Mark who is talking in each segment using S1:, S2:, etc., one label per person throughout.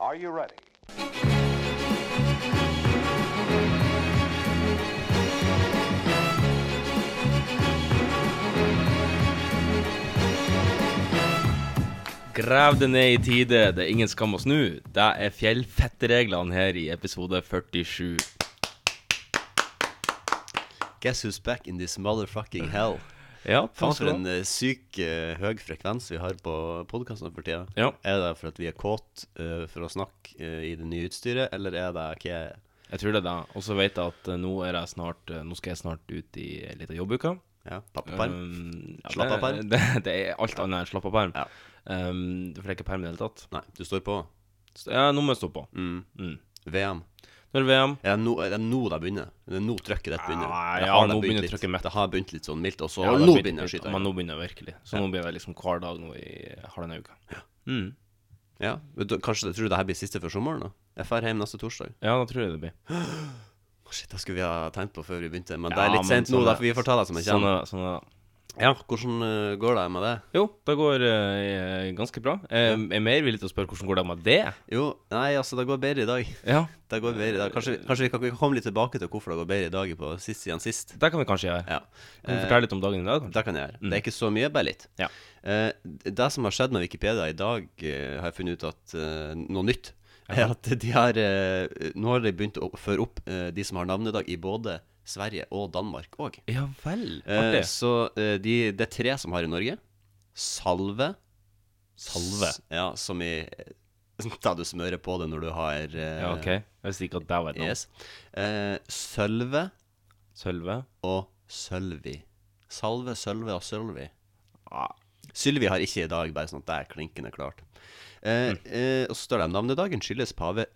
S1: Are you ready?
S2: Grav det ned i tide, det er ingen skam å snu. Det er fjellfettreglene her i episode 47.
S3: Guess who's back in this motherfucking hell?
S2: Ja,
S3: Faen for
S2: skal
S3: en
S2: du ha.
S3: eh, syk eh, høy frekvens vi har på podkastene for tida.
S2: Ja.
S3: Er det for at vi er kåt eh, for å snakke eh, i det nye utstyret, eller er det hva
S2: Jeg tror det er det. Og så vet jeg at eh, nå, er jeg snart, eh, nå skal jeg snart ut i ei lita jobbuke.
S3: ja, pappaperm?
S2: Um, ja,
S3: Slapp av,
S2: det-
S3: perm.
S2: Det, det er alt annet enn slapp av perm.
S3: Ja.
S2: Um, for det er ikke perm i det hele tatt.
S3: Nei, du står på.
S2: Så, ja, nå må jeg stå på. Mm.
S3: VM.
S2: Nå er det VM.
S3: Er det nå, er det nå det begynner? Er det nå trykket ditt begynner?
S2: Ah,
S3: Eller
S2: ja,
S3: har det
S2: nå
S3: begynt
S2: begynner
S3: litt?
S2: trykket mitt.
S3: Det har begynt litt sånn mildt, og så
S2: Ja, det
S3: nå
S2: begynner-
S3: begynner skytinga.
S2: Men nå begynner det virkelig. Så nå blir det liksom hver dag nå i halvannen uke. Mm.
S3: Ja. men du- Kanskje det, tror du det her blir siste før sommeren? da? Jeg drar hjem neste torsdag.
S2: Ja, da tror jeg det blir.
S3: Å, Shit, det skulle vi ha tenkt på før vi begynte, men det
S2: Ja,
S3: er litt
S2: men
S3: sent nå.
S2: sånn er-
S3: Derfor vi får ta det som jeg
S2: Sånn
S3: kommer.
S2: er det. Sånn er det.
S3: Ja, hvordan eh, går det med det?
S2: Jo, det går eh, ganske bra. Eh, Jeg er mer villig til å spørre hvordan går det med det.
S3: Jo, nei, altså, det går bedre i dag.
S2: Ja,
S3: Det går bedre i dag. Kanskje, kanskje vi kan vi kan komme litt tilbake til hvorfor det går bedre i dag på sist siden sist.
S2: Det kan vi kanskje gjøre.
S3: Ja. Eh,
S2: Kan du fortelle litt om dagen i dag? kanskje?
S3: Det kan jeg gjøre. Det er ikke så mye, bare litt.
S2: Ja.
S3: Eh, det som har skjedd med Wikipedia i dag, eh, har jeg funnet ut at eh, noe nytt er at de har eh, Nå har de begynt å føre opp eh, de som har navnedag i både Sverige og Danmark òg.
S2: Ja vel.
S3: Eh,
S2: Artig.
S3: så eh, de, det er tre som har i Norge. Salve.
S2: Salve.
S3: S- Ja, som i Da du smører på det når du har eh,
S2: Ja, OK. Jeg visste ikke at det var et navn.
S3: Yes. Eh, Sølve
S2: Sølve.
S3: og Sølvi. Salve, Sølve og Sølvi.
S2: Ah,
S3: Sylvi har ikke i dag, bare sånn at det er klinkende klart.
S2: Mm.
S3: Eh, eh, og så står det navnedagen skyldes pave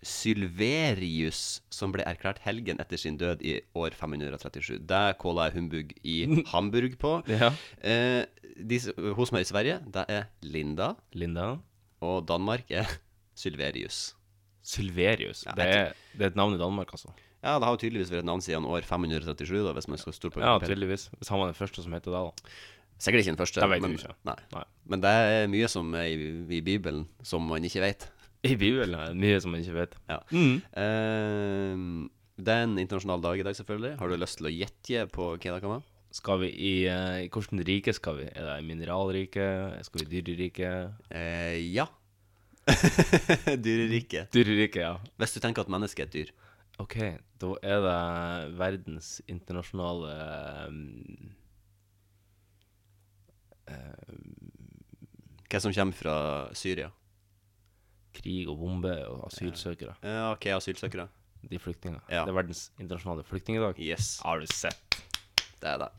S3: Sylverius, som ble erklært helgen etter sin død i år 537. Det kåla jeg humbug i Hamburg på.
S2: Ja.
S3: Eh, de, s- hun som er i Sverige, det er Linda,
S2: Linda.
S3: og Danmark er Sylverius.
S2: Sylverius.
S3: Ja,
S2: Det
S3: jeg
S2: er, det er et navn i Danmark, altså.
S3: Ja, det har jo tydeligvis vært et navn siden år 537, da, hvis man skal stole på
S2: Ja,
S3: Wikipedia.
S2: tydeligvis. Hvis han var den første som het det, da.
S3: Sikkert ikke den første.
S2: Det vet
S3: men,
S2: vi ikke.
S3: Nei.
S2: Nei.
S3: men det er mye som er i, i Bibelen som man ikke vet.
S2: I Bibelen er det mye som man ikke vet.
S3: Ja.
S2: Mm.
S3: Eh, det er en internasjonal dag i dag, selvfølgelig. Har du lyst til å gjette på hva det kan være?
S2: Skal vi i eh, i Hvordan rike skal vi? Er det mineralrike? Skal vi i dyrerike?
S3: Eh, ja. Dyreriket.
S2: Dyrerike, ja.
S3: Hvis du tenker at mennesket er et dyr.
S2: Ok, da er det verdens internasjonale um,
S3: Hva som kommer fra Syria?
S2: krig og bombe og asylsøkere.
S3: Ja, Eh, ok, asylsøkere.
S2: De flyktningene.
S3: Ja.
S2: Det er verdens internasjonale flyktningdag.
S3: Yes,
S2: Har du sett?
S3: det er det.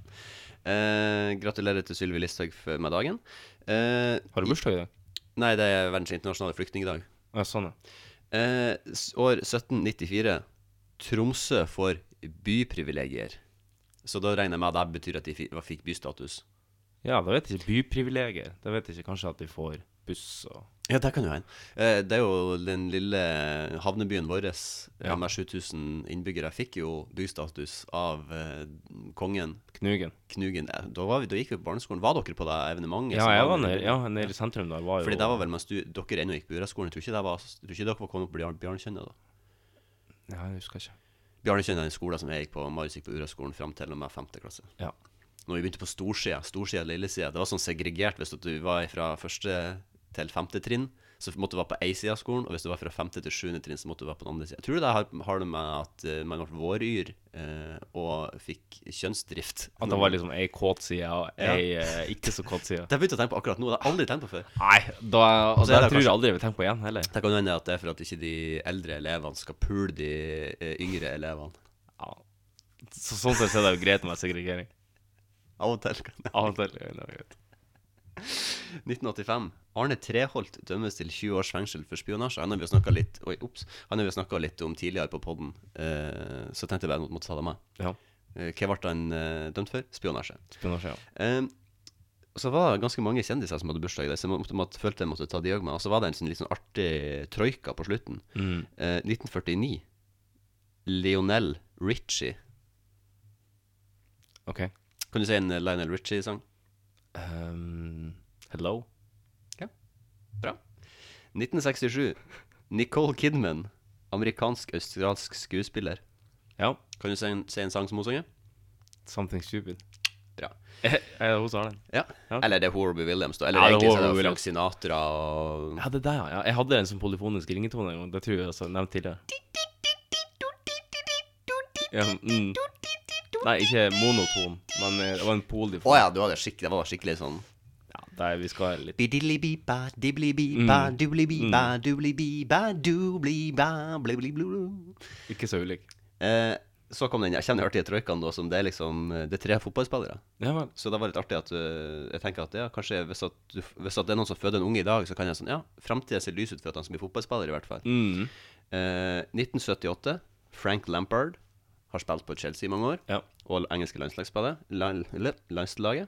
S3: Eh, gratulerer til Sylvi Listhaug f- med dagen. Eh,
S2: Har du bursdag i dag?
S3: nei, det er verdens internasjonale flyktningdag.
S2: Ja, sånn, ja.
S3: Eh, s- år 1794. Tromsø får byprivilegier. Så da regner jeg med at det betyr at de fi- fikk bystatus.
S2: Ja, da vet jeg ikke. Byprivilegier. Da vet jeg ikke kanskje at de får buss og
S3: Ja, det kan jo hende. Eh, det er jo den lille havnebyen vår
S2: Ja.
S3: med 7000 innbyggere. Fikk jo bystatus av eh, kongen.
S2: Knugen.
S3: Knugen. Eh, Da, var vi, da gikk vi på barneskolen. Var dere på det evenementet?
S2: Ja,
S3: som
S2: jeg var
S3: med-
S2: nede ja, nede i sentrum der. Var jo,
S3: Fordi det var vel mens du, dere ennå gikk på Juraskolen. Tror ikke, det var, tror ikke dere var kommet opp på Bjarn- Bjarnkjønnet da?
S2: Ja, jeg husker ikke.
S3: Bjarnkjønnet er en skole som jeg gikk på, Marius gikk på Uraskolen fram til og med 5. klasse.
S2: Ja.
S3: Når vi begynte på storsida, storsida og lillesida, det var sånn segregert hvis at du var fra første til femte trinn, så måtte du være på ei side av skolen, og hvis du var fra femte til sjuende trinn, så måtte du være på den andre sida. Tror du det har, har det med at eh, man ble våryr eh, og fikk kjønnsdrift?
S2: At det var liksom ei kåt side og ei eh, ikke så kåt side.
S3: Det har jeg begynt å tenke på akkurat nå, det har jeg aldri tenkt på før.
S2: Nei, da, og det tror
S3: så er det
S2: jeg
S3: kanskje-
S2: aldri jeg vil tenke på igjen heller.
S3: Det kan jo hende at det er for at ikke de eldre elevene skal pule de eh, yngre elevene.
S2: Ja. Så, sånn sett så er det jo greit med segregering.
S3: Av og til kan det.
S2: Av og til. ja, det er greit.
S3: 1985. Arne Treholt dømmes til 20 års fengsel for spionasje. Han har vi jo snakket litt, oi, ups. Han har vi jo snakket litt om tidligere på podden, eh, så tenkte jeg bare at jeg måtte ta det med.
S2: Ja.
S3: Eh, hva ble han eh, dømt for? Spionasje.
S2: Spionasje, ja.
S3: Eh, så var det ganske mange kjendiser som hadde bursdag i dag, så jeg måtte, måtte, følte jeg måtte ta de også med. Og så var det en sånn litt sånn artig troika på slutten.
S2: mm,
S3: Eh, 1949. Lionel Richie.
S2: OK.
S3: Kan du si en eh, Lionel Richie-sang?
S2: Um, Ehm, hello?
S3: Bra. 1967. Nicole Kidman, amerikansk-australsk skuespiller.
S2: Ja.
S3: Kan du si en, si en sang som hun sanger?
S2: Something stupid.
S3: Bra.
S2: Eh, eh, hun sa den.
S3: Ja.
S2: Ja.
S3: Eller det er Horby Williams, da. Eller
S2: Ja, det er
S3: egentlig så
S2: Horrible
S3: er det Frank
S2: Williams.
S3: Sinatra og
S2: Ja, det der, ja. Jeg hadde en sånn polyfonisk ringetone en gang. Det tror jeg også jeg nevnte tidligere. Ja, mm. Nei, ikke monoton, men eh, det var en
S3: Å
S2: polyfon.
S3: ja, du hadde skikkelig, det var skikkelig sånn
S2: Ja, der vi skal litt
S3: Bidilibiba, diblibiba,
S2: Mm.
S3: dublibiba, dublibiba, dubliba, blibliblu.
S2: Ikke så ulik.
S3: Eh, Så kom den Jeg kjenner artige troikaen, da, som det er liksom Det er tre fotballspillere.
S2: Ja vel.
S3: Så det var litt artig at øh, jeg tenker at ja, kanskje hvis at, du, hvis at det er noen som føder en unge i dag, så kan jeg sånn Ja, framtida ser lys ut for at han skal bli fotballspiller, i hvert fall.
S2: Mm.
S3: Eh, 1978. Frank Lampard har spilt på Chelsea i mange år,
S2: Ja.
S3: og engelske landslagsspillet. Land, eller, landslaget.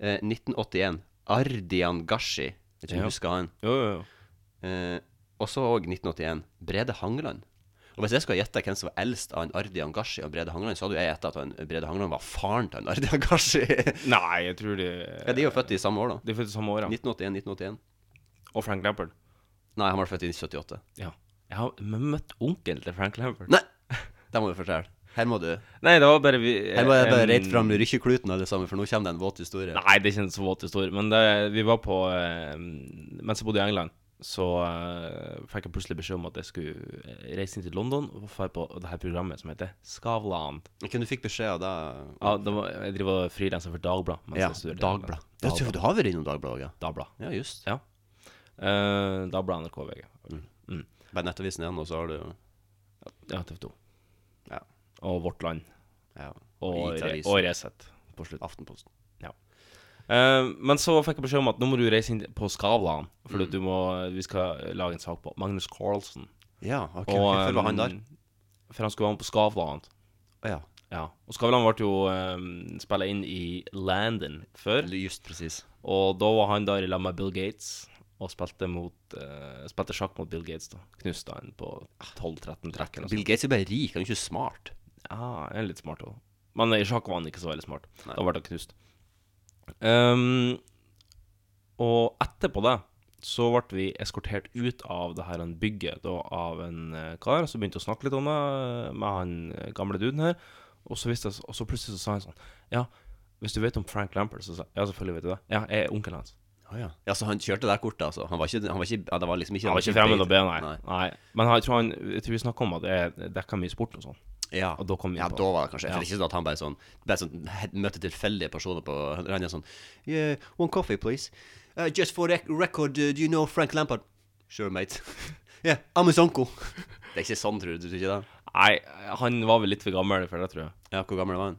S3: Eh, 1981. Ardian Gashi. Jeg tror
S2: Ja.
S3: jeg husker han.
S2: Jo, jo, jo.
S3: Eh, og så òg 1981. Brede Hangeland. Og Hvis jeg skulle gjette hvem som var eldst av han Ardian Gashi og Brede Hangeland, så hadde jo jeg gjetta at han, Brede Hangeland var faren til han Ardian Gashi. ja,
S2: Nei, jeg tror de
S3: de er jo født i samme år, da.
S2: De er født samme året.
S3: 1981, 1981.
S2: Og Frank Lampard.
S3: Nei, han var født i 1978.
S2: Ja. Jeg har møtt onkelen til Frank Lampard.
S3: Nei! Det må du fortelle. Her må du
S2: Nei, det var bare vi
S3: Her må jeg bare
S2: em,
S3: reite fram rykkjekluten, alle sammen, for nå kommer det en våt historie.
S2: Nei, det er ikke en så våt historie. Men det, vi var på eh, Mens jeg bodde i England, så eh, fikk jeg plutselig beskjed om at jeg skulle eh, reise inn til London og dra på det her programmet som heter Skavlan.
S3: Hvem du fikk beskjed av deg?
S2: Ja, det var, jeg driver og frilanser for Dagblad. mens
S3: Ja,
S2: jeg studerer i England.
S3: Dagblad. Ja, du, du har vært innom Dagbladet, ja.
S2: Dagblad.
S3: Ja, just.
S2: Ja. Eh, Dagblad, NRK, VG. Mm.
S3: Bare Nettavisen igjen, og så har du
S2: Ja, TV 2.
S3: Ja.
S2: Og Vårt Land.
S3: ja,
S2: Og, re
S3: IT-avis,
S2: og Resett på slutt.
S3: Aftenposten.
S2: Eh, men så fikk jeg beskjed om at nå må du reise inn på Skavlan, for
S3: Mm.
S2: at du må, eh, vi skal lage en sak på Magnus Carlsen.
S3: Ja, ok.
S2: Og,
S3: Hvorfor var han der?
S2: eh, For han skulle være med på Skavlan.
S3: Å Ja,
S2: Ja. Og Skavlan ble jo um, spilt inn i Landon før,
S3: just presis.
S2: og da var han der i lag med Bill Gates. Og spilte, mot, eh, spilte sjakk mot Bill Gates, da. Knuste han på 12-13 trekk.
S3: Bill Gates er bare rik, han er ikke smart.
S2: Ja, Ah, jeg er litt smart også. Men i sjakk var han ikke så veldig smart.
S3: Nei.
S2: Da ble han knust. Ehm, og etterpå det så ble vi eskortert ut av det her han bygget da, av en eh, kar som begynte å snakke litt om det eh, med han eh, gamle duden her. Og så, visste jeg, og så plutselig så sa han sånn Ja, hvis du vet om Frank Lampert, så sa jeg Ja, selvfølgelig vet du det. Ja, jeg er onkelen hans.
S3: Å ja. ja, så han kjørte det kortet, altså. Han var ikke, han var ikke ja, Det var liksom ikke
S2: Han var ikke fremmed å be, nei.
S3: Nei.
S2: nei. Men jeg tror, han, jeg tror vi snakka om at jeg dekka mye sport og sånn.
S3: Ja.
S2: Og da kom vi
S3: ja,
S2: på-
S3: da var det kanskje
S2: Ja.
S3: For det er ikke sånn at han bare sånn Bare sånn he- møtte tilfeldige personer på Han er sånn Yeah, one coffee, please. Uh, just for rec record, uh, do you know Frank Lampard? Sure, mate. yeah, I'm his uncle. det er ikke sånn, tror du? Tror du ikke det?
S2: Nei, han var vel litt for gammel for det, tror jeg.
S3: Ja, hvor gammel var han?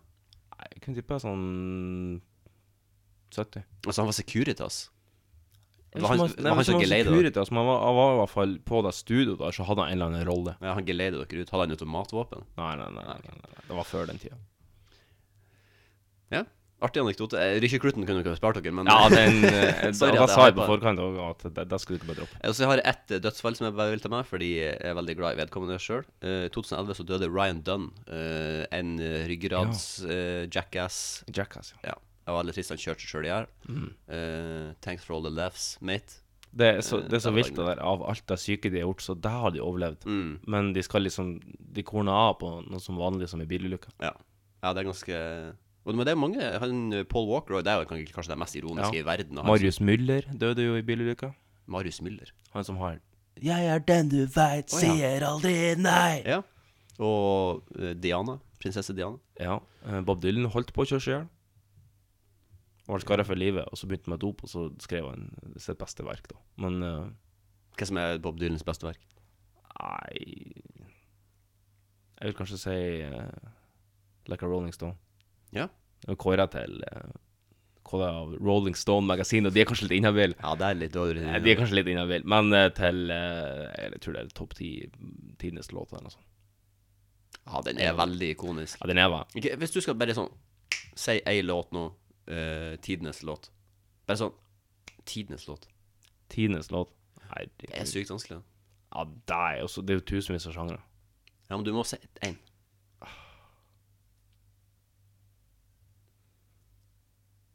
S2: Nei, Jeg kunne tippe sånn 70.
S3: Altså, han var Securitas.
S2: Det Altså,
S3: var han- det var han som geleida dere?
S2: Securitas, men han altså, var, han var i hvert fall på det studioet der, så hadde han en eller annen rolle.
S3: Ja, han geleide dere ut. Hadde han automatvåpen?
S2: Nei, nei, nei, nei, nei, nei. det var før den tida.
S3: Ja. Artig anekdote. Eh, Rykkjekluten kunne dere ha spart dere, men
S2: Ja, den eh,
S3: Sorry
S2: Da, da
S3: at jeg
S2: sa jeg på
S3: hoppa.
S2: forkant òg at det, det skulle du ikke bare droppe.
S3: Og så har jeg ett eh, dødsfall som jeg bare vil ta med, fordi jeg er veldig glad i vedkommende sjøl. I 2011 så døde Ryan Dunn, eh, en eh, ryggrads eh, jackass.
S2: Jackass, ja.
S3: Ja, jeg var veldig trist han kjørte sjøl i hjel. Eh, thanks for all the laughs, mate.
S2: Mm. Det er så, det er så
S3: Eh,
S2: vilt, det der. Av alt det syke de har gjort, så det har de overlevd.
S3: Mm.
S2: Men de skal liksom De korner av på noe som vanlig som i bilulykker.
S3: Ja. ja, det er ganske Og Men det er mange. Han, eh, Paul Walker og det er jo kanskje- kanskje det mest ironiske
S2: Ja.
S3: i verden. og han-
S2: Marius Müller døde jo i bilulykker.
S3: Marius Müller.
S2: Han som har
S1: Jeg er den du veit,
S3: Å, ja.
S1: sier aldri nei.
S3: Ja. Og eh, Diana. Prinsesse Diana.
S2: Ja, eh, Bob Dylan holdt på å kjøre seg i hjel. Var skada for livet, og så begynte han med dop, og så skrev han sitt beste verk, da. Men eh,
S3: Hva som er Bob Dylans beste verk?
S2: nei Jeg vil kanskje si eh, Like a Rolling Stone.
S3: Ja.
S2: Jeg er kåra til uh, kåra av Rolling Stone Magazine, og de er kanskje litt inhabile.
S3: Ja, det er litt dårlig.
S2: Nei, de er kanskje litt inhabile, men eh, til eh, Jeg tror det er topp ti tidenes låt eller noe sånt.
S3: Ja, den er veldig ikonisk.
S2: Ja, den er hva?
S3: Ok, hvis du skal bare sånn Si ei låt nå eh, Tidenes låt Bare sånn Tidenes låt
S2: Tidenes låt.
S3: Det er
S2: Herregud.
S3: sykt vanskelig da.
S2: Ja, det er jo så- det er jo tusenvis av sjangre.
S3: Ja, men du må si en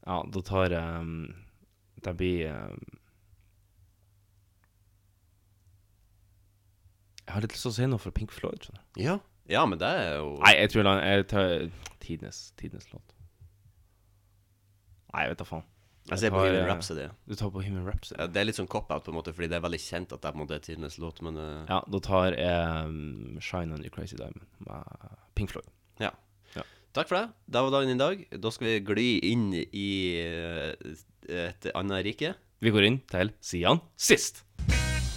S2: Ja, da tar um, ehm, Det blir um, Jeg har litt lyst til å si noe fra Pink Floyd. skjønner du.
S3: Ja, ja men det er jo
S2: Nei, jeg tror han- jeg tar tidenes, tidenes låt. Nei, jeg vet da faen.
S3: Jeg ser
S2: tar,
S3: Bohemian
S2: eh,
S3: Rhapsody.
S2: Du tar Bohemian Rhapsody.
S3: Ja, det er litt sånn cop-out, på en måte, fordi det er veldig kjent at det er på en måte er tidenes låt, men eh,
S2: Ja, da tar jeg um, Shine on You Crazy Diamond med Pink Floyd.
S3: ja.
S2: Ja.
S3: Takk for det. Det var dagen i dag. Da skal vi gli inn i eh, et annet rike.
S2: Vi går inn til Sian sist.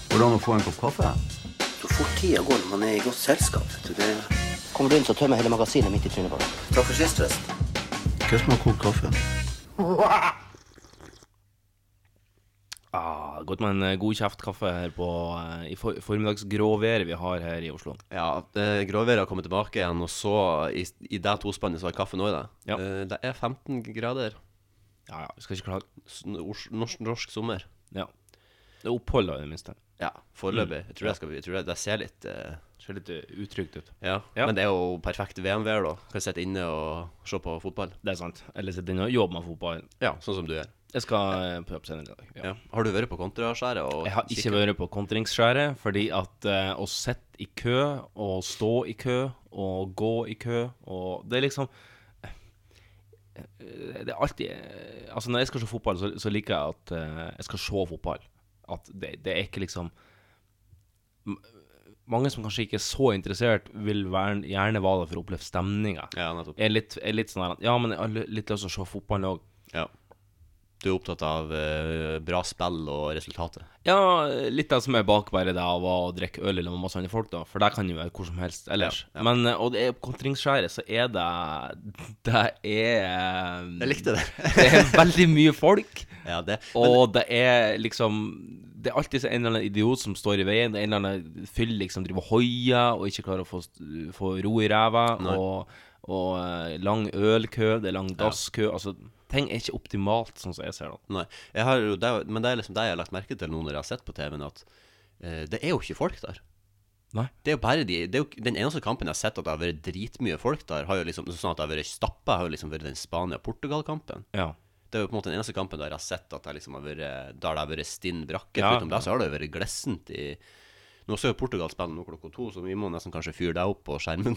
S3: Hvordan å få en kopp kaffe?
S4: Så fort tida går når man er i godt selskap. vet du. Det
S5: Kommer du inn, så tømmer jeg hele magasinet midt i trynet på deg.
S4: Takk for sist, forresten.
S3: Hva som er kokt kaffe?
S2: Ah, godt med en eh, god kjeft kaffe her på eh, i for formiddagsgråværet vi har her i Oslo.
S3: Ja, eh, Gråværet har kommet tilbake igjen, og så i, i det tospannet så har kaffen òg det.
S2: Ja.
S3: Eh, det er 15 grader.
S2: Ja, ja, vi skal ikke klage.
S3: S- ors- Norsk, norsk sommer.
S2: Ja. Det er opphold, da, i det minste.
S3: Ja, foreløpig. Jeg tror det, skal, bli- jeg tror det, det ser litt eh,
S2: Ser litt eh, utrygt ut.
S3: ja.
S2: Ja.
S3: Men det er jo perfekt VM-vær, da. Kan sitte inne og se på fotball.
S2: Det er sant. Eller sitte inne og jobbe med fotball.
S3: Ja, sånn som du gjør.
S2: Jeg skal eh, på jobb senere i dag. Ja.
S3: Ja. Har du vært på kontraskjæret? og
S2: Jeg har ikke
S3: kikket?
S2: vært på kontringsskjæret, fordi at eh, å sitte i kø, og stå i kø, og gå i kø, og det er liksom Det er alltid eh, Altså, når jeg skal se fotball, så, så liker jeg at eh, jeg skal se fotball. At det, det er ikke liksom M- Mange som kanskje ikke er så interessert, vil være, gjerne være der for å oppleve stemninga.
S3: Ja, nettopp.
S2: Er litt, er litt sånn her at, Ja, men jeg har li- litt lyst til å se fotballen òg.
S3: Ja. Du er opptatt av eh, bra spill og resultatet.
S2: Ja, litt av det som er bak bare det av å drikke øl eller med masse andre folk, da. For det kan jo være hvor som helst ellers. Men, eh, og det er på kontringsskjæret, så er det Det er
S3: Jeg likte det.
S2: det er veldig mye folk,
S3: Ja, det.
S2: og det er liksom Det er alltid så en eller annen idiot som står i veien. Det er en eller annen fyll liksom driver og hoier og ikke klarer å få, få ro i ræva. Og, og eh, lang ølkø, det er lang dasskø. Altså, ting er ikke optimalt, sånn som jeg ser det.
S3: Nei. Jeg har jo, det, er jo- men det er liksom det jeg har lagt merke til nå når jeg har sett på TV-en, at eh, det er jo ikke folk der.
S2: Nei.
S3: Det er jo bare de, det er jo, Den eneste kampen jeg har sett at det har vært dritmye folk der, har jo liksom sånn at det har vært stappa, har jo liksom vært den Spania-Portugal-kampen.
S2: Ja.
S3: Det er jo på en måte den eneste kampen der jeg har sett at det liksom har vært Der det har vært stinn brakke.
S2: Ja.
S3: Utenom det så har det jo vært glissent i Nå skal jo Portugal spille nå klokka to, så vi må nesten kanskje fyre deg opp på skjermen.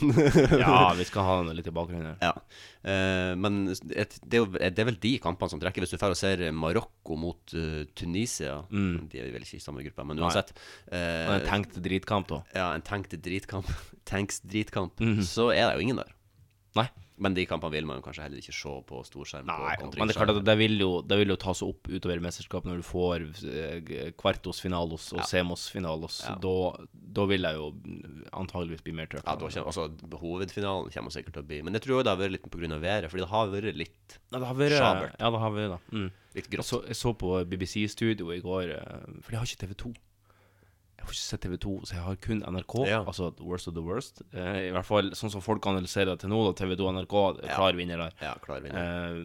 S2: ja, vi skal ha den litt i bakgrunnen her.
S3: Ja. Eh, men et, det, er jo, eh, det er vel de kampene som trekker. Hvis du drar og ser Marokko mot eh, Tunisia
S2: Mm.
S3: De er vel ikke i samme gruppe, men uansett.
S2: Og
S3: eh,
S2: en tenkt dritkamp, da.
S3: ja, en tenkt dritkamp, tanks dritkamp, så er det jo ingen der.
S2: Mhm. Nei.
S3: Men de kampene vil man jo kanskje heller ikke se på storskjerm. på
S2: men det er klart at det vil jo, det vil jo ta seg opp utover i mesterskapet når du får eh, kvartos finalos og semos finalos. Da, da vil jeg jo antageligvis bli mer trøkk.
S3: ja, da kommer, altså, hovedfinalen kommer sikkert til å bli Men jeg tror også det har vært litt pga. været, fordi det har vært litt,
S2: Ja, det har vært
S3: Sjabert.
S2: Ja, det har vært da. Mm.
S3: litt
S2: Jeg,
S3: grått.
S2: så, jeg så på BBC-studio i går, eh, for jeg har ikke TV2. Jeg har ikke sett TV2, så jeg har kun NRK.
S3: Ja.
S2: Altså the worst of the worst. Eh, I hvert fall sånn som folk analyserer det til nå, da. TV2 og NRK klar vinner der.
S3: Ja, klar
S2: Eh,
S3: vinner.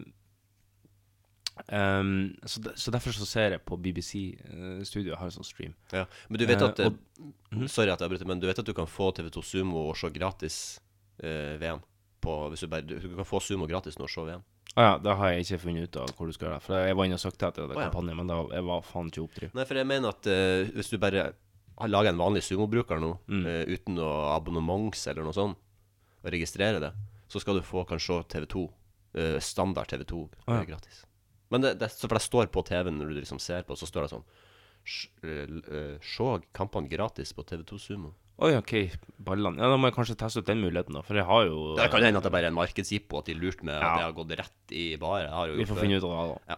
S2: ehm, så, de, så derfor så ser jeg på BBC-studioet, har en sånn stream.
S3: Ja. Men du vet
S2: Eh,
S3: at eh, Sorry at jeg avbryter, men du vet at du kan få TV2 Sumo og se gratis eh, VM? På, hvis du, bare, du du kan få Sumo gratis når du ser VM.
S2: Å ja, det har jeg ikke funnet ut av hvor du skal gjøre det. For jeg var inne og søkte etter det
S3: Å ja.
S2: kampanjen, men da, jeg var faen ikke oppdriv.
S3: Nei, for jeg mener at eh, hvis du bare har laget en vanlig Sumo-bruker nå,
S2: Mm.
S3: eh, uten noe abonnements eller noe sånt, og registrerer det, så skal du få kanskje se TV2, eh, standard TV2 eh,
S2: Å ja.
S3: gratis. Men det, det, så for det står på TV-en når du liksom ser på, så står det sånn «Sj- eh, l- eh, Se kampene gratis på TV2 Sumo.
S2: Oi, OK, ballene. Ja, da må jeg kanskje teste ut den muligheten, da. For jeg har jo eh,
S3: Det kan hende at det bare er en markedsjippo, at de lurte med
S2: Ja.
S3: at jeg har gått rett i bare. Jeg har jo
S2: Vi får finne ut av det, da.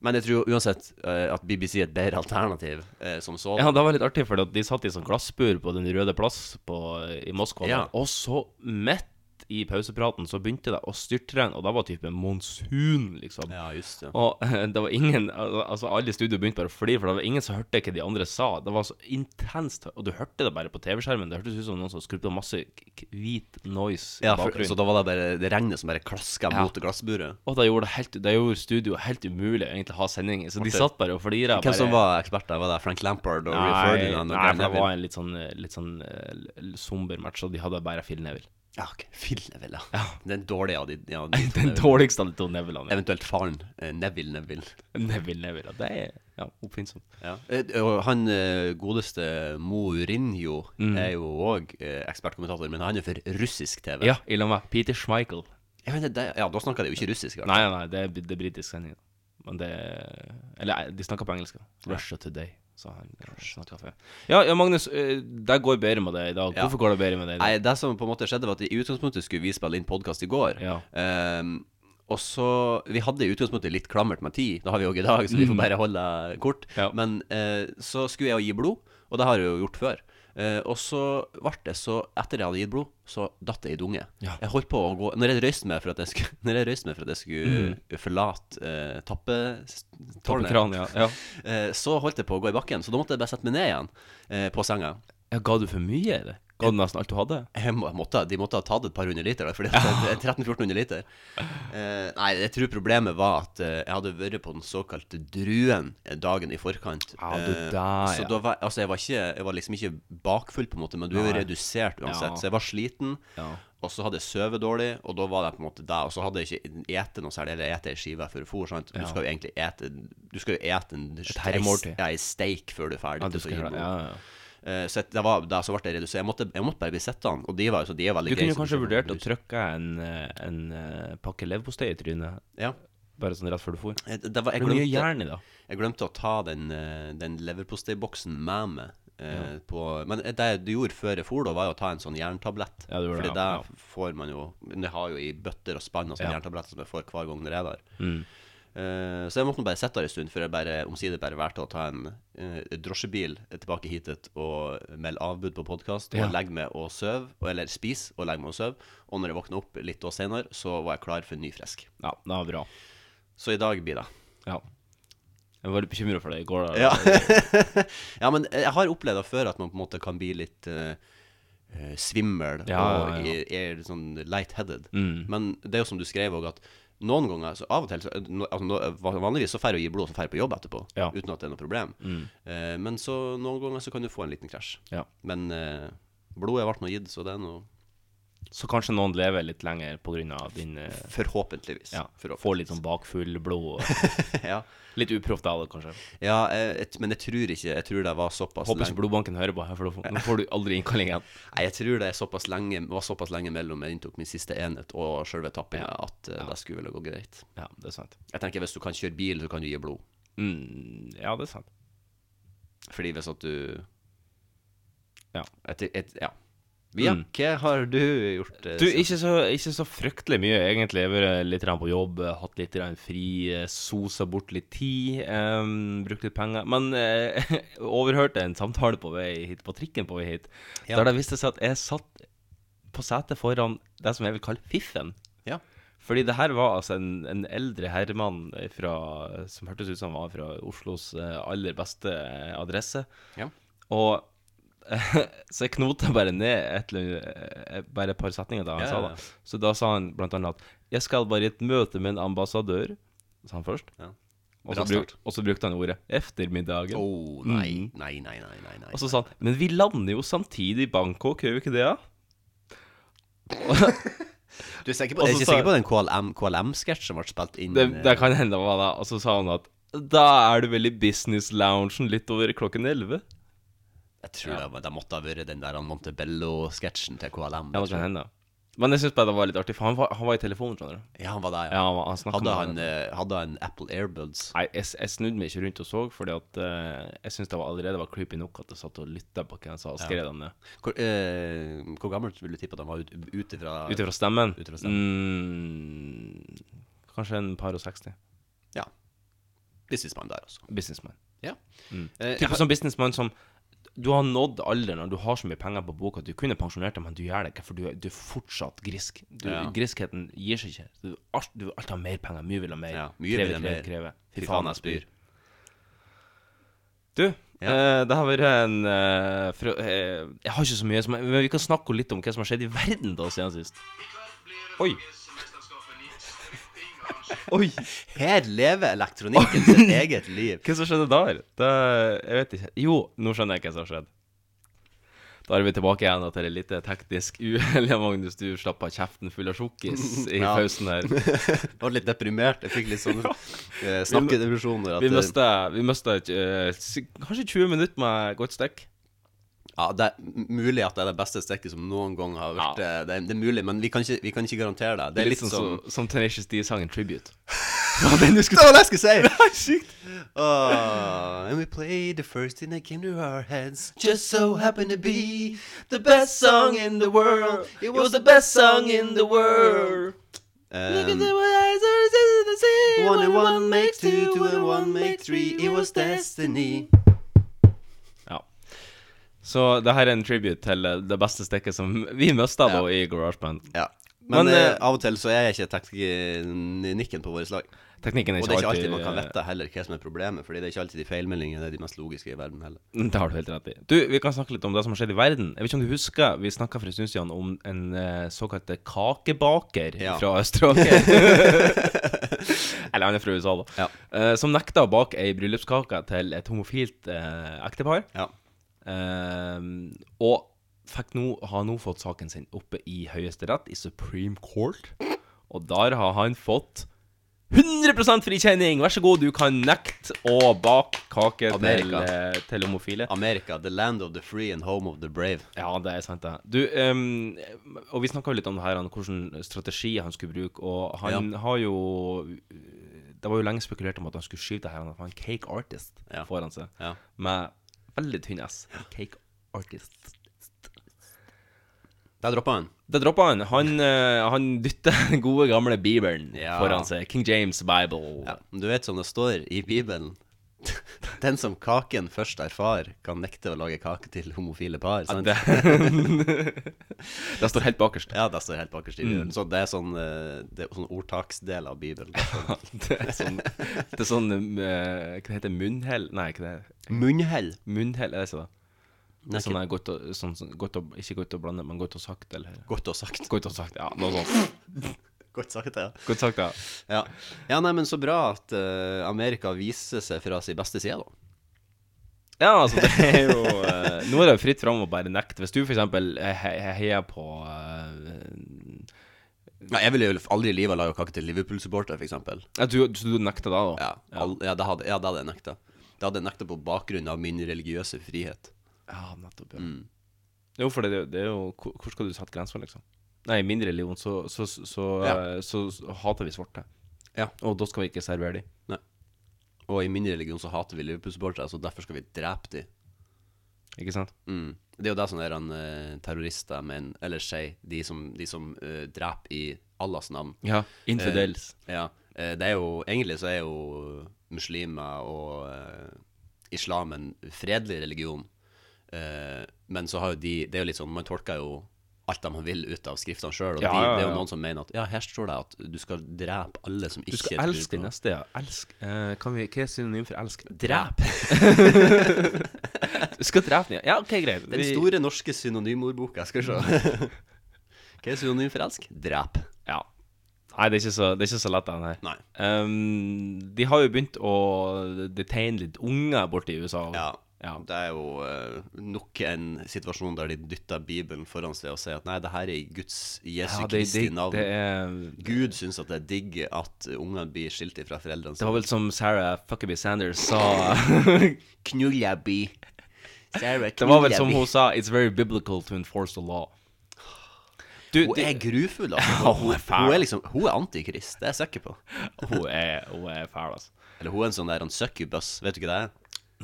S3: Men jeg tror uansett eh, at BBC er et bedre alternativ eh, som så.
S2: Ja, det var litt artig, for de satt i sånn glassbur på Den røde plass på, i Moskva. da.
S3: Ja.
S2: Og så midt i pausepraten så begynte det å styrtregne, og da var type monsun, liksom.
S3: sånn. Ja, just det.
S2: Og det var ingen al- Altså alle i studio begynte bare å flire, for det var ingen som hørte hva de andre sa. Det var så intenst, og du hørte det bare på TV-skjermen. Det hørtes ut som noen som skrudde på masse k- k- hvit noise i
S3: Ja, for,
S2: bakgrunnen.
S3: så da var det bare det regnet som bare klaska
S2: Ja.
S3: mot glassburet.
S2: Og det gjorde, det helt, det gjorde studio helt umulig å egentlig ha sending, i, så de satt bare og flira.
S3: Hvem som var ekspert der? Var det Frank Lampard og Ray
S2: Nei,
S3: Ferdinand?
S2: nei,
S3: og Gary
S2: for det
S3: Neville?
S2: var en litt sånn, litt sånn eh, l- somber match, og de hadde bare Phil Neville.
S3: Ja, ok, Phil Neville, ja. Den dårlige av de, ja, de
S2: Den
S3: to Neville.
S2: dårligste av de to Nevillene.
S3: Eventuelt faren. eh, Neville Neville.
S2: Neville, Neville. ja, Det er Ja, oppfinnsomt.
S3: Ja. Eh, Og han eh, godeste Mourinho
S2: Mm.
S3: er jo òg eh, ekspertkommentator, men han er for russisk TV.
S2: Ja, i lag med Peter Schmeichel.
S3: Jeg mener, det, ja da snakker de jo ikke russisk. altså.
S2: Nei, nei, det er, det er britisk sending. Men det Eller nei, de snakker på engelsk. da. Russia Today, sa han. eh, Snakket før. Ja, ja, Magnus, eh, det går bedre med deg i dag.
S3: Ja.
S2: Hvorfor går det bedre med deg i dag?
S3: Nei, det som på en måte skjedde, var at i utgangspunktet skulle vi spille inn podkast i går.
S2: Ja.
S3: Ehm, og så Vi hadde i utgangspunktet litt klammert med tid, det har vi jo i dag, så vi får bare holde kort.
S2: Mm. Ja.
S3: Men eh, så skulle jeg jo gi blod, og det har jeg jo gjort før. Eh, og så ble det så Etter jeg hadde gitt blod, så datt det i dunge.
S2: Ja.
S3: Jeg holdt på å gå Når jeg røyste meg for at jeg skulle, når jeg røyste meg for at jeg skulle
S2: Mm.
S3: forlate eh, tappetårnet
S2: Tappekran, ja. ja.
S3: eh, så holdt jeg på å gå i bakken. Så da måtte jeg bare sette meg ned igjen eh, på senga.
S2: ja. Ga du for mye, eller? Ga du nesten alt du hadde?
S3: Jeg må- jeg måtte, de måtte ha tatt et par hundre liter, da, fordi at det er 1300-1400 liter. Eh, nei, jeg tror problemet var at eh, jeg hadde vært på den såkalte druen eh, dagen i forkant.
S2: Ja, du
S3: Eh,
S2: der, ja.
S3: Så da var, altså, jeg, var ikke, jeg var liksom ikke bakfull, på en måte, men du er jo
S2: Nei.
S3: redusert
S2: Ja.
S3: uansett. Så jeg var sliten,
S2: Ja.
S3: og så hadde jeg sovet dårlig, og da var det på en måte det. Og så hadde jeg ikke ete noe særlig, eller ete ei skive før jeg for, sant. Du skal jo egentlig ete Du skal jo ete en,
S2: herremåltid.
S3: Ja, ei steik før du er ferdig.
S2: Ja, du
S3: til å
S2: skal
S3: gi
S2: gjøre det.
S3: blod.
S2: Ja, ja, ja.
S3: Eh, Så jeg- det var, da så ble det redusert. Jeg måtte, jeg måtte bare bli sittende. Og de var, så de er veldig
S2: Du kunne
S3: greie,
S2: jo
S3: så
S2: kanskje
S3: skjønner
S2: vurdert å
S3: brus.
S2: trykke en, eh, en eh, pakke leverpostei i trynet,
S3: Ja.
S2: bare sånn rett før du for.
S3: Jeg- Det var, jeg,
S2: Det er mye
S3: glemte,
S2: jern i det.
S3: jeg glemte å ta den, eh, den leverposteiboksen med meg. eh, På, men det du gjorde før jeg for, da, var jo å ta en sånn jerntablett.
S2: Ja, du gjorde
S3: Fordi
S2: det,
S3: det
S2: ja.
S3: får man jo men Jeg har jo i bøtter og spann og sånne
S2: Ja.
S3: jerntabletter som jeg får hver gang når jeg er der.
S2: Mm.
S3: Eh, så jeg måtte nå bare sitte der en stund før jeg bare omsider bare valgte å ta en eh, drosjebil tilbake hitet og melde avbud på podkast og
S2: Ja.
S3: legge meg og sove, og- eller spise og legge meg og sove. Og når jeg våkna opp litt da senere, så var jeg klar for ny frisk.
S2: Ja, det var bra.
S3: Så i dag blir det.
S2: Ja. Jeg var litt bekymra for deg i går. da.
S3: Ja. ja, men eh, jeg har opplevd det før at man på en måte kan bli litt eh, eh, svimmel
S2: Ja, ja,
S3: og
S2: ja.
S3: er, er litt sånn lightheaded.
S2: Mm.
S3: Men det er jo som du skrev òg, at noen ganger så Av og til så, no, altså, no, Vanligvis så drar jeg å gi blod, og så drar jeg på jobb etterpå.
S2: Ja. Mm.
S3: Uten at det er noe problem. Eh, men så noen ganger så kan du få en liten krasj.
S2: Ja.
S3: Men eh, blodet ble nå gitt, så det er nå
S2: Så kanskje noen lever litt lenger pga. din eh,
S3: Forhåpentligvis.
S2: Ja,
S3: Forhåpentligvis.
S2: får litt sånn bakfull blod. og-
S3: ja.
S2: Litt uproft av det, kanskje.
S3: ja eh, et, men jeg tror ikke Jeg tror det var såpass
S2: Håper
S3: lenge
S2: ikke blodbanken hører på her, for da får- nå får du aldri innkalling igjen.
S3: Nei, jeg tror det er såpass lenge, var såpass lenge mellom jeg inntok min siste enhet og sjølve tappinga at eh, det skulle vel gå greit.
S2: Ja, det er sant.
S3: Jeg tenker hvis du kan kjøre bil, så kan du gi blod.
S2: Mm, ja, det er sant.
S3: Fordi hvis sånn at du
S2: Ja. Mm.
S3: Et, et, ja. Via, hva har du gjort? eh,
S2: Du,
S3: siden-
S2: ikke så, ikke så fryktelig mye, egentlig. Jeg har vært eh, litt grann på jobb, hatt litt grann fri, eh, sosa bort litt tid, em, brukt litt penger. Men eh, overhørte en samtale på vei hit, på trikken på vei hit, der det viste seg at jeg satt på setet foran det som jeg vil kalle fiffen.
S3: Ja.
S2: Fordi det her var altså en, en eldre herremann fra, som hørtes ut som han var fra Oslos eh, aller beste eh, adresse.
S3: Ja.
S2: Og så jeg knota bare ned et, eller annet- eh, bare et par setninger da han
S3: Ja,
S2: sa
S3: ja, ja.
S2: det. Så da sa han blant annet at 'Jeg skal bare i et møte med en ambassadør', sa han først.
S3: Ja.
S2: Og
S3: Bra
S2: så bruk,
S3: start.
S2: og så brukte han ordet 'eftermiddagen'.
S3: Å,
S2: Mm.
S3: nei, nei, nei, nei, nei, nei.
S2: Og så sa han 'Men vi lander jo samtidig i Bangkok, gjør vi ikke det?' da?»
S3: Du er, sikker på,
S2: Og
S3: jeg
S2: altså, så
S3: er ikke
S2: sa-
S3: sikker på den KLM KLM-sketsj som ble spilt inn?
S2: Det,
S3: eh,
S2: det kan hende det var det. Og så sa han at 'Da er du vel i business-loungen litt over klokken 11'.
S3: Jeg tror det, var- det måtte ha vært den der han Montebello-sketsjen til KLM.
S2: Ja, det kan hende. Men jeg syns bare det var litt artig, for han var, han var i telefonen, skjønner du.
S3: Ja, han var der,
S2: Ja,
S3: ja.
S2: han, var- han snakket
S3: Hadde
S2: med
S3: han, eh, hadde han Apple Airbuds?
S2: Nei, jeg, jeg snudde meg ikke rundt og så, fordi at eh, jeg syntes det var allerede var creepy nok at jeg satt og lytta på hva han sa, og skrev det ned.
S3: Hvor, eh, hvor gammelt vil du tippe at han var ut, ut ifra
S2: Ut ifra stemmen,
S3: Ut ifra
S2: Mm, Kanskje en par og 60.
S3: Ja. Businessmann der, altså.
S2: Businessman.
S3: Ja.
S2: Eh,
S3: Eh,
S2: Type sånn businessman som Du har nådd alderen, og du har så mye penger på boka at du kunne pensjonert deg, men du gjør det ikke, for du, er- du er fortsatt grisk. Du,
S3: Ja.
S2: Griskheten gir seg ikke. Du, alt, du vil alltid ha mer penger. Mye vil ha mer.
S3: Ja, mye vil ha mer.
S2: Fy faen, jeg spyr. Du, eh, det har vært en eh, fra, eh, Jeg har ikke så mye, som, men vi kan snakke litt om hva som har skjedd i verden da siden sist. Oi. Oi.
S3: Her lever elektronikken sitt eget liv.
S2: Hva som skjedde der? Det, jeg vet ikke. Jo, nå skjønner jeg hva som har skjedd. Da er vi tilbake igjen til et lite teknisk uhell. Ja, Magnus, du slapp av kjeften full av sjokkis i
S3: Ja.
S2: pausen her.
S3: Jeg var litt deprimert. Jeg fikk litt sånn eh, snakkedepresjoner. at
S2: Vi
S3: det-
S2: mista, vi mista eh, si- kanskje 20 minutter med godt stikk.
S3: Ja, det er m- mulig at det er det beste stikket som noen gang har vært eh, det, er, det er mulig, men vi kan ikke, vi kan ikke garantere det. Det er litt,
S2: sånn
S3: som
S2: som, som Tenacious D sang en tribute.
S3: Det var det jeg skulle si! Ah, and we played the first thing that came to our heads. Just so happened to be the best song in the world. It was the best song in the world. Um, one and one makes two, two and one makes three. It was destiny.
S2: Ja. Så det her er en tribute til eh, det beste stikket som vi mista da i GarageBand.
S3: Ja. Men,
S2: Men,
S3: eh,
S2: eh,
S3: av og til så er jeg ikke teknikken på vårt lag.
S2: Teknikken er
S3: Og
S2: ikke,
S3: det er ikke alltid man kan
S2: eh,
S3: vite heller hva som er problemet, Fordi det er ikke alltid de feilmeldingene er de mest logiske i verden heller.
S2: Det Mm, har du helt rett i. Du, Vi kan snakke litt om det som har skjedd i verden. Jeg vet ikke om du husker, Vi snakka for en stund siden om en eh, såkalt kakebaker
S3: Ja.
S2: fra Øst-Roker. Eller han er fra USA, da.
S3: Ja.
S2: Eh, som nekta å bake ei bryllupskake til et homofilt eh, ektepar.
S3: Ja.
S2: Eh, og fikk nå, har nå fått saken sin oppe i Høyesterett, i Supreme Court. Og der har han fått 100 frikjenning! Vær så god, du kan nekte å bake kake til,
S3: Amerika.
S2: eh, til homofile.
S3: Amerika, the land of the free and home of the brave.
S2: Ja, det er sant, det. Du, ehm, og vi snakka jo litt om det her, han, hvilken strategi han skulle bruke, og han har jo Det var jo lenge spekulert om at han skulle skyve det her, han var en cake artist
S3: Ja.
S2: foran seg,
S3: Ja.
S2: med veldig tynn S. Cake artist.
S3: Der droppa han.
S2: Det droppa han. Han, eh, han dytter den gode, gamle Bibelen
S3: Ja.
S2: foran seg. King James Bible.
S3: Ja. Men Du vet som det står i Bibelen. Den som kaken først erfar, kan nekte å lage kake til homofile par. Sant?
S2: Det, det står helt bakerst.
S3: Ja, det står helt bakerst i Bibelen. Så det er sånn, eh, det er sånn ordtaksdel av Bibelen.
S2: Det er sånn, det er sånn eh, Hva heter det? Munnhell? Nei, hva det er
S3: Munnhell.
S2: Munnhell, er det ikke det? Det er
S3: Sånn
S2: sånn der godt og, sånn, sånn, godt og Ikke godt og blande, men godt og sakte, eller
S3: Godt og sagt.
S2: Godt og sakte, ja. Noe sånt.
S3: Godt sagt, ja.
S2: Godt sakte, ja.
S3: ja. Ja, nei, men så bra at eh, Amerika viser seg fra sin beste side, da.
S2: Ja, altså, det er jo eh, Nå er det jo fritt fram å bare nekte. Hvis du f.eks. heier på eh,
S3: Nei, jeg ville jo aldri i livet lage kake til Liverpool-supporter, f.eks.
S2: ja, du, du nekter da, da?
S3: Ja, all, ja, det hadde, ja, det hadde jeg nekta. Det hadde jeg nekta på bakgrunn av min religiøse frihet.
S2: Ja, nettopp.
S3: Mm.
S2: Ja. Jo, for det, er jo- det er jo hvor- Hvor skal du sette grensa, liksom? Nei, i min religion så, så, så, så, eh, så, så hater vi svarte.
S3: Ja.
S2: Og da skal vi ikke servere dem.
S3: Og i min religion så hater vi Liverpool-supportere, så derfor skal vi drepe dem.
S2: Ikke sant?
S3: Mm. Det er jo det som er en eh, terrorister men, eller sier, de som, de som eh, dreper i Allahs navn.
S2: Ja. Infidels.
S3: Eh, ja. Eh, det er jo, egentlig så er jo muslimer og eh, islam en fredelig religion. Eh, men så har jo de Det er jo litt sånn, man tolker jo alt de vil ut av skriftene sjøl. Og
S2: Ja,
S3: de,
S2: ja,
S3: det er
S2: ja.
S3: jo noen som mener at ja, her står det at du skal drepe alle som
S2: Du
S3: ikke
S2: skal
S3: tror
S2: elske
S3: på-
S2: din neste, ja. Elsk. Eh, kan vi, hva er synonym for elsk?
S3: Drep!
S2: Du skal drepe den, ja. Ja, ok, greit.
S3: Den
S2: Vi-
S3: store norske synonymordboka, skal vi se. Hva er synonym for elsk? Drep.
S2: Ja. Nei, det er ikke så, det er ikke så lett, den her.
S3: Nei.
S2: Ehm, de har jo begynt å detaine litt unger borte i USA.
S3: Ja.
S2: Ja.
S3: Det er jo eh, nok en situasjon der de dytter Bibelen foran seg og sier at nei, det her er i Guds Jesu
S2: Ja, det,
S3: Kristi
S2: det,
S3: navn.
S2: det er
S3: Gud syns at det er digg at ungene blir skilt fra foreldrene
S2: Det
S3: sine.
S2: var vel som Sarah Fuckaby Sanders sa
S3: Knullaby. Sarah
S2: Det var vel som
S3: knullaby.
S2: hun sa It's very biblical to enforce the law. Du,
S3: Hun
S2: det-
S3: er grufull, altså.
S2: Ja, hun
S3: hun,
S2: er
S3: hun,
S2: fæl.
S3: er liksom, hun er antikrist, det er jeg sikker på.
S2: hun er, hun er fæl, altså.
S3: Eller hun er en sånn der en succubus, vet du ikke det? er?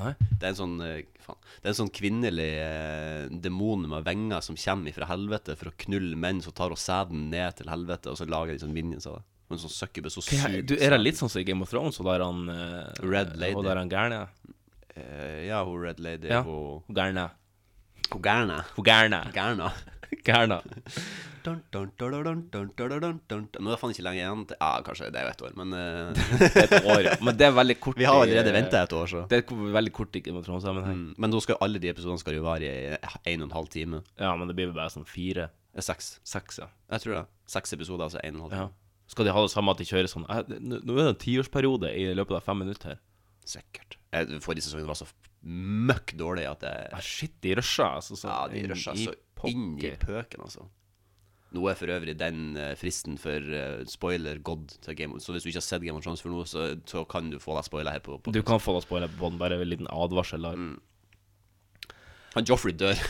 S2: Nei?
S3: Det er en sånn, eh, faen, det er en sånn kvinnelig eh, demon med venger som kommer fra helvete for å knulle menn som tar og sæden ned til helvete, og så lager de sånn minions av det. Og En sånn succubus og suger
S2: Du, er det
S3: sæden.
S2: litt sånn som i Game of Thrones, og der han eh,
S3: Red Lady.
S2: Og der han gærne?
S3: Eh, Ja, hun Red Lady,
S2: Ja.
S3: hun
S2: Hun gærne.
S3: Hun gærne.
S2: Hun gærne.
S3: Gærna.
S2: Gærne.
S3: Dun, dun, dun, dun, dun, dun, dun, dun, dun. Nå er det faen ikke lenge igjen til Ja, kanskje det er jo ett år, men eh,
S2: Et år, ja. Men det er veldig kort
S3: Vi har
S2: i- eh,
S3: allerede venta et år, så.
S2: Det er ko- veldig kort i Game of Thrones-sammenheng.
S3: Mm, Men nå skal alle de episodene skal jo vare i en og en halv time.
S2: Ja, men det blir vel bare sånn fire,
S3: Eh, Seks.
S2: seks, ja.
S3: Jeg tror det. Seks episoder, altså en og en halv
S2: ja.
S3: time.
S2: Skal de ha det samme at de kjører sånn eh, Nå nå er det en tiårsperiode i løpet av fem minutter her.
S3: Sikkert. Eh, Forrige sesongen var så møkk dårlig at jeg
S2: Ah, shit, de rusha, altså. Så
S3: Ja, de rusha
S2: i
S3: så inn i
S2: pokker.
S3: pøken, altså. Nå er for øvrig den eh, fristen for eh, spoiler god til Game of Så hvis du ikke har sett Game of Thrones før nå, så, så kan du få deg spoiler her på, på
S2: Du kan få oss på det, Bånd, bare en liten advarsel der.
S3: Han Joffrey dør.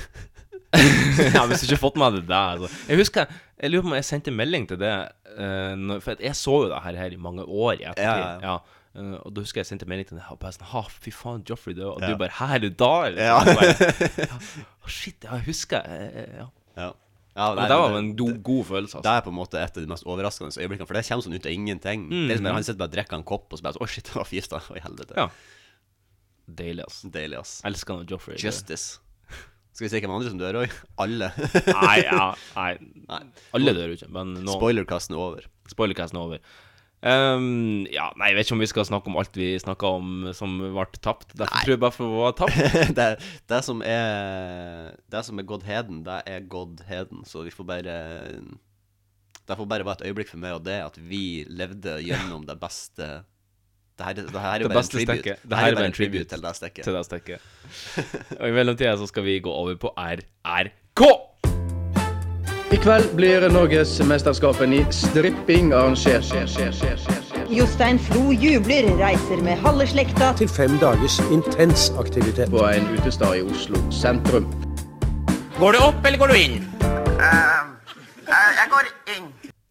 S2: ja, hvis du ikke har fått med deg det der altså. Jeg husker, jeg lurer på om jeg sendte melding til det eh, når, For at jeg så jo det her, her i mange år i ettertid
S3: Ja, ja, ja.
S2: Eh, Og da husker jeg jeg sendte melding til deg Og bare sånn, ha, fy faen, Joffrey død Og du bare, hæ, er du da? Eller,
S3: Ja.
S2: sånn, og bare, ja. Å, Shit, ja, jeg husker eh, eh, ja.
S3: Ja. Ja,
S2: Men
S3: nei,
S2: det
S3: men
S2: var jo en do, god følelse
S3: Det
S2: altså.
S3: er på en måte et av de mest overraskende øyeblikkene, for det kommer sånn ut av ingenting. Det er liksom, han sitter bare og drikker en kopp, og så bare sånn, Å, shit, han var forgifta. Å, i
S2: Mm.
S3: helvete.
S2: Ja. Deilig, ass
S3: Deilig, ass.
S2: Elsker han Joffrey dør.
S3: Justice. Skal vi se hvem andre som dør òg? Alle.
S2: Nei, ja, nei
S3: Nei.
S2: Alle dør jo ikke, men nå
S3: Spoilerkasten er over.
S2: Spoilercasten er over. Ehm, ja, nei, jeg vet ikke om vi skal snakke om alt vi snakka om som ble tapt. Derfor tror jeg bare for å være tapt.
S3: det, det som er Det som er gått heden, det er gått heden, så vi får bare Det får bare være et øyeblikk for meg, og det er at vi levde gjennom det beste Det her, det her er
S2: Det
S3: jo bare en
S2: beste
S3: tribute.
S2: stekket. Det
S3: Det
S2: her
S3: her
S2: er
S3: er
S2: bare
S3: bare
S2: en
S3: en tribute
S2: tribute.
S3: til det stekket.
S2: Til det stekket. Og i mellomtida så skal vi gå over på RRK.
S6: I kveld blir Norgesmesterskapen i stripping arrangert.
S7: Jostein Flo jubler, reiser med halve slekta
S8: til fem dagers intens aktivitet.
S6: På en utestad i Oslo sentrum.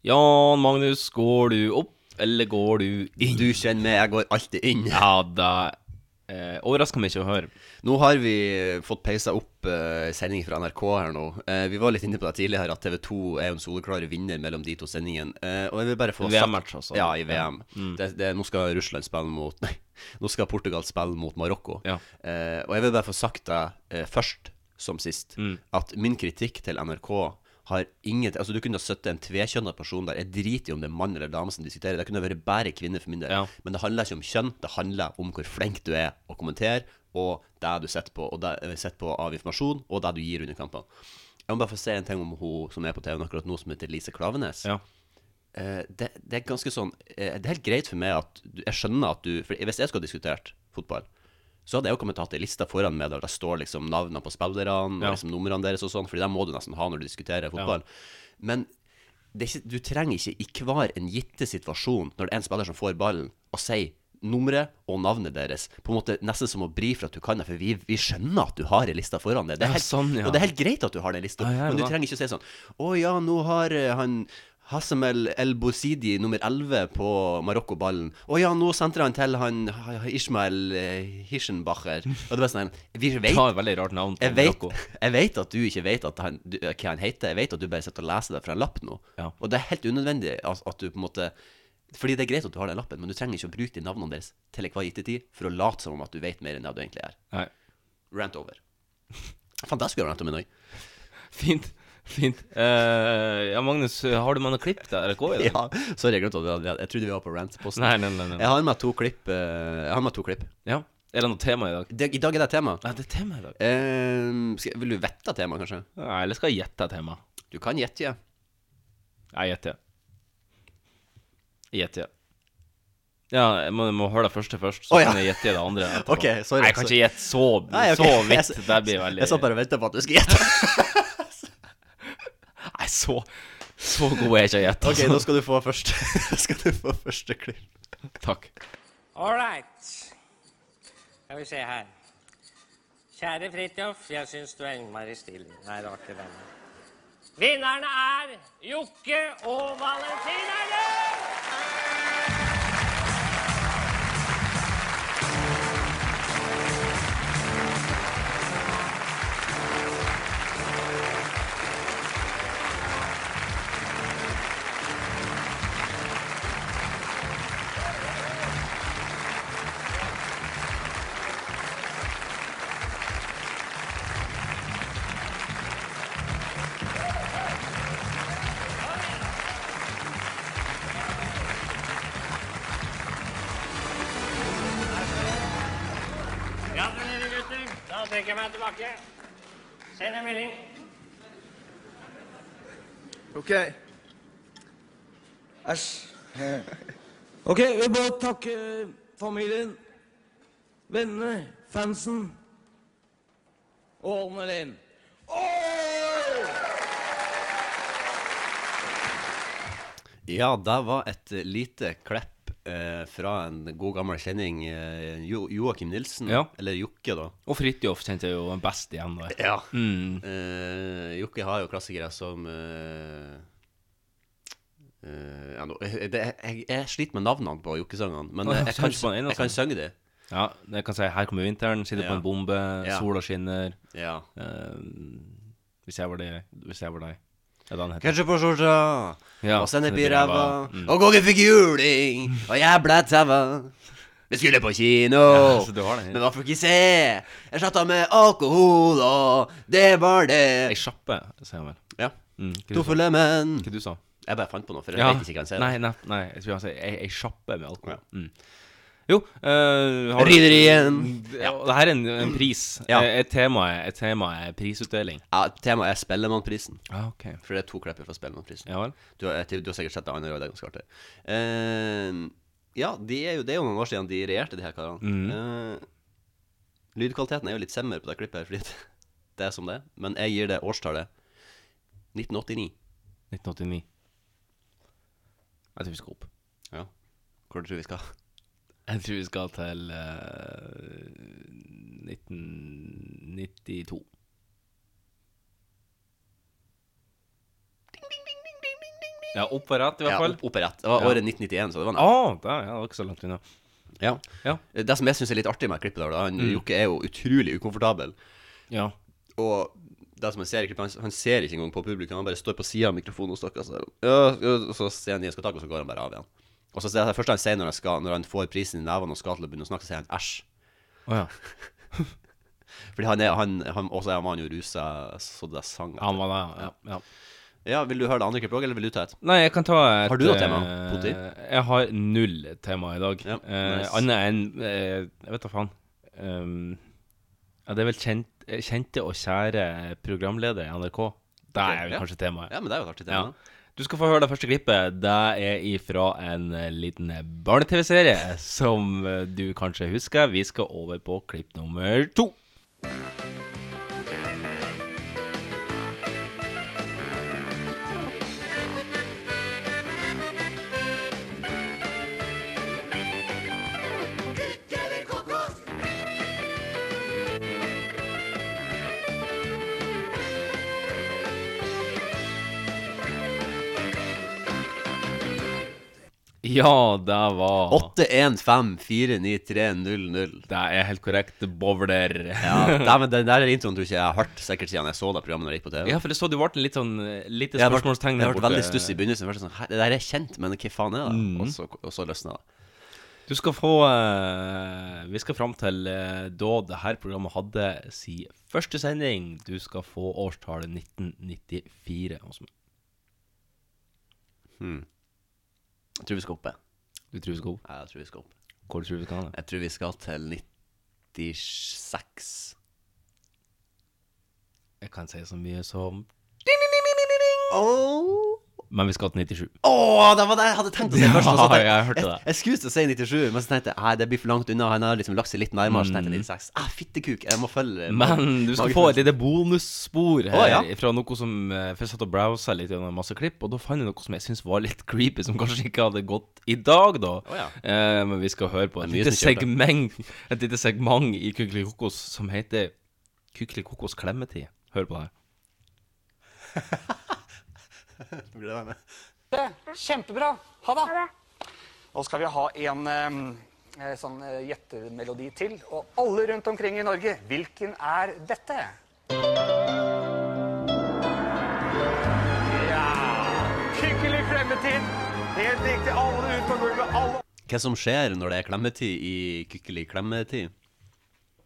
S2: Jan Magnus, går du opp, eller går du inn?
S3: Du kjenner meg, jeg går alltid inn.
S2: Ja, det eh, overrasker meg ikke å høre.
S3: Nå har vi fått peisa opp eh, sending fra NRK her nå. Eh, vi var litt inne på det tidligere, at TV2 er jo en soleklar vinner mellom de to sendingene. Eh, og jeg vil bare få
S2: VM-match, altså.
S3: Ja, i VM. Det, det, nå skal Russland spille mot Nei, nå skal Portugal spille mot Marokko.
S2: Ja.
S3: Eh, og jeg vil bare få sagt det eh, først som sist,
S2: Mm.
S3: at min kritikk til NRK har inget, altså Du kunne ha sittet en tvekjønna person der. Jeg driter i om det er mann eller dame som diskuterer. Det kunne ha vært bare kvinner for min del.
S2: Ja.
S3: Men det handler ikke om kjønn, det handler om hvor flink du er å kommentere, og det du setter på, og det, eh, setter på av informasjon, og det du gir under kampene. Jeg må bare få si en ting om hun som er på TV-en akkurat nå, som heter Lise Klavenes.
S2: Ja.
S3: Eh, det, det er ganske sånn eh, Det er helt greit for meg at du, Jeg skjønner at du for Hvis jeg skulle ha diskutert fotball, så hadde jeg jo kommet til å hatt ei liste foran meg der det står liksom navnene på spillerne
S2: Ja.
S3: og liksom numrene deres og sånn, Fordi det må du nesten ha når du diskuterer fotball. Men det er ikke, du trenger ikke i hver en gitte situasjon, når det er en spiller som får ballen, å si nummeret og navnet deres. På en måte Nesten som å brife at du kan det, for vi, vi skjønner at du har ei liste foran deg. Det
S2: Ja,
S3: er helt,
S2: sånn, ja.
S3: Og det er helt greit at du har den lista,
S2: Ja, ja,
S3: men du
S2: da.
S3: trenger ikke å si sånn Å ja, nå har eh, han Hassamel El Bosidi nummer 11 på Marokko-ballen. Å ja, nå sentrer han til han ha- ha- Ismael eh, Hirschenbacher. Og det var sånn Vi
S2: Det
S3: vet
S2: har et veldig rart navn. til
S3: jeg vet,
S2: Marokko.
S3: jeg vet at du ikke vet at han, du, eh, hva han heter. Jeg vet at du bare sitter og leser det fra en lapp nå.
S2: Ja.
S3: Og det er helt unødvendig at, at du på en måte Fordi det er greit at du har den lappen, men du trenger ikke å bruke de navnene deres til hver gitte tid for å late som om at du vet mer enn det du egentlig er.
S2: Nei.
S3: Rant over. Faen, det skulle jeg rante om i dag.
S2: Fint. Fint. Eh, ja, Magnus, har du med noe klipp til RRK i dag?
S3: Ja, sorry, jeg glemte at vi hadde- Jeg trodde vi var på rant-posten.
S2: Nei, nei, nei.
S3: Jeg
S2: nei.
S3: har med to klipp. eh, jeg har med to klipp.
S2: Ja. Er det noe tema i dag?
S3: Det, I dag er det tema.
S2: Nei, det er tema i dag.
S3: Eh, skal, vil du vette tema, kanskje?
S2: Nei, eller skal jeg gjette et tema?
S3: Du kan gjette. ja.
S2: Jeg gjetter. Jeg gjetter. Ja, jeg må, jeg må høre det første først, så
S3: Å, ja.
S2: kan jeg gjette det andre. etterpå.
S3: Ok, sorry,
S2: Nei, Jeg kan
S3: sorry.
S2: ikke gjette så,
S3: Nei, ok.
S2: så vidt.
S3: Jeg s-
S2: Det blir veldig
S3: Jeg satt bare og venta på at du skulle gjette.
S2: Nei, så, så god er jeg ikke å gjette.
S3: Ok,
S2: altså.
S3: nå skal du få første, skal du få første klipp.
S2: Takk.
S9: All right. Skal vi se her. Kjære Fridtjof, jeg syns du er innmari stille. Nei, det var ikke den. Vinnerne er Jokke og Valentinerne! Gratulerer, gutter. Da trekker jeg meg tilbake. Send en melding.
S6: Ok.
S1: Æsj. Ok, vi må takke familien, vennene, fansen,
S9: Åmelin.
S3: Ja, det var et lite klepp eh, fra en god gammel kjenning, eh, jo Joakim Nilsen.
S2: Ja.
S3: Eller Jokke, da.
S2: Og Fridtjof kjente jeg jo den best igjen. Da.
S3: Ja.
S2: Mm.
S3: Eh, Jokke har jo klassikere som eh, eh, ja, nå- eh, det, jeg, jeg sliter med navnene på jokkesangene, men
S2: Å, ja,
S3: eh,
S2: så
S3: jeg, kan,
S2: kanskje på den ene,
S3: sy- jeg kan synge de.
S2: Ja, jeg kan si 'Her kommer vinteren', 'Sitter på
S3: Ja.
S2: en bombe',
S3: Ja.
S2: 'Sola skinner',
S3: Ja.
S2: eh, 'Hvis jeg var deg', 'Hvis jeg var deg'. Er det han heter?
S3: Kanskje på skjorta,
S2: Ja,
S3: og sennep i
S2: sennep i
S3: ræva,
S2: ræva, mm.
S3: og kongen fikk juling, og jeg ble tæva. Vi skulle på kino,
S2: Ja, så du har den, ja.
S3: men hva fikk vi se? Jeg satt av med alkohol, og det var
S2: Ei
S3: det.
S2: sjappe, sier han vel.
S3: Ja.
S2: Mm, hva
S3: To
S2: du sa?
S3: for lemen.
S2: Hva du sa
S3: Jeg bare fant på noe, for jeg
S2: Ja.
S3: vet ikke hva jeg sier.
S2: Nei, nei, nei jeg skulle si ei, ei sjappe med alkohol.
S3: Ja.
S2: Mm. Jo uh,
S3: Ridderien.
S2: Ja. Det her er en, en pris.
S3: Ja.
S2: Eh, Et, tema er, et tema er prisutdeling.
S3: Ja, temaet er Spellemannprisen,
S2: Ah, ok
S3: for det er to klipper fra Spellemannprisen.
S2: Ja vel.
S3: Du, har, jeg tror- du har sikkert sett det andre også, det er ganske artig. Eh, ja, de er jo, det er jo noen år siden de regjerte, de her karene.
S2: Mm.
S3: Eh, lydkvaliteten er jo litt semmer på det klippet her, fordi det- det er som det er. Men jeg gir det årstallet 1989.
S2: 1989. Jeg tror vi skal opp.
S3: Ja. Hvor tror du vi skal?
S2: Jeg tror vi skal til eh, 1992. Ja, opp på rett, i hvert
S3: Ja,
S2: fall.
S3: opp, opp og rett. Det var
S2: Ja.
S3: året 1991, så det var
S2: Å,
S3: nett.
S2: der, ja, det var ikke så langt unna.
S3: Ja.
S2: Ja. Mm.
S3: Det som jeg syns er litt artig med klippet, der, da, han Jokke er jo utrolig ukomfortabel.
S2: Ja.
S3: Og det som jeg ser i klippet, han, han ser ikke engang på publikum, han bare står på sida av mikrofonen og snakker sånn. Ja, ja, og så sier han de skal takke, og så går han bare av igjen. Og så er det første han sier når han, skal, når han får prisen i nevene og skal til å begynne å snakke, så sier han æsj.
S2: Å ja.
S3: Fordi han er, han, han, også er han jo rusa, så det sang.
S2: Han var der, ja. ja.
S3: Ja, Vil du høre det andre klippet òg, eller vil du ta et?
S2: Nei, jeg kan ta et
S3: Har du noe
S2: eh,
S3: tema, Poti?
S2: Jeg har null tema i dag.
S3: Ja,
S2: Eh,
S3: nice.
S2: Annet enn eh, Jeg vet da faen. Um, ja, det er vel kjent, eh, kjente og kjære programleder i NRK. Det
S3: Ok,
S2: er vel
S3: ja.
S2: kanskje temaet.
S3: Ja, men det er jo et artig
S2: Ja.
S3: tema.
S2: Du skal få høre det første klippet. Det er ifra en eh, liten barne-TV-serie som eh, du kanskje husker. Vi skal over på klipp nummer to. Ja, det var
S3: 815493000.
S2: Det er helt korrekt. Bowler.
S3: Ja, nei, men den der introen tror jeg ikke jeg har hørt sikkert siden jeg så det programmet når jeg gikk på TV.
S2: Ja, for det så du ble en litt sånn eh, lite
S3: Jeg har vært,
S2: spørsmålstegn
S3: jeg har vært
S2: borte.
S3: veldig stuss i begynnelsen. Først sånn, «Hæ, det der er kjent, men hva faen er det?
S2: Mm.
S3: Og, så, og så løsna det.
S2: Du skal få eh, Vi skal fram til eh, da det her programmet hadde si første sending. Du skal få årstallet 1994. Åsmund.
S3: Jeg tror vi skal opp, jeg.
S2: Du tror vi skal opp?
S3: Ja, jeg tror vi skal opp.
S2: Hvor tror du vi skal hen?
S3: Jeg tror vi skal til 96.
S2: Jeg kan si så mye som
S3: Åh,
S2: Men vi skal til 97.
S3: Åh, det var det jeg hadde tenkt å si
S2: Oh! Ja,
S3: først. og så tenkte
S2: jeg hørte det.
S3: Jeg, jeg skulle til å si 97, men så tenkte jeg nei, det blir for langt unna. Han har liksom lagt seg litt nærmere. Så tenkte jeg 96. Ah, fittekuk. Jeg må følge
S2: Mm. Men du skal få et lite bonusspor her
S3: Å, ja.
S2: fra noe som eh, For jeg satt og browsa litt gjennom masse klipp, og da fant jeg noe som jeg syns var litt creepy, som kanskje ikke hadde gått i dag, da.
S3: Å, ja.
S2: eh, men vi skal høre på et
S3: Det er mye
S2: lite,
S3: som kjøper.
S2: segment, et lite segment i Kykeli Kokos som heter Kykeli Kokos klemmetid. Hør på det her.
S3: lite
S10: Kjempebra. Ha det. Nå skal vi ha en eh, sånn eh, gjettemelodi til. Og alle rundt omkring i Norge, hvilken er dette? Ja Hyggelig klemmetid. Helt riktig. Alle ut på gulvet. Alle
S3: Hva som skjer når det er klemmetid i Kykkeli klemmetid?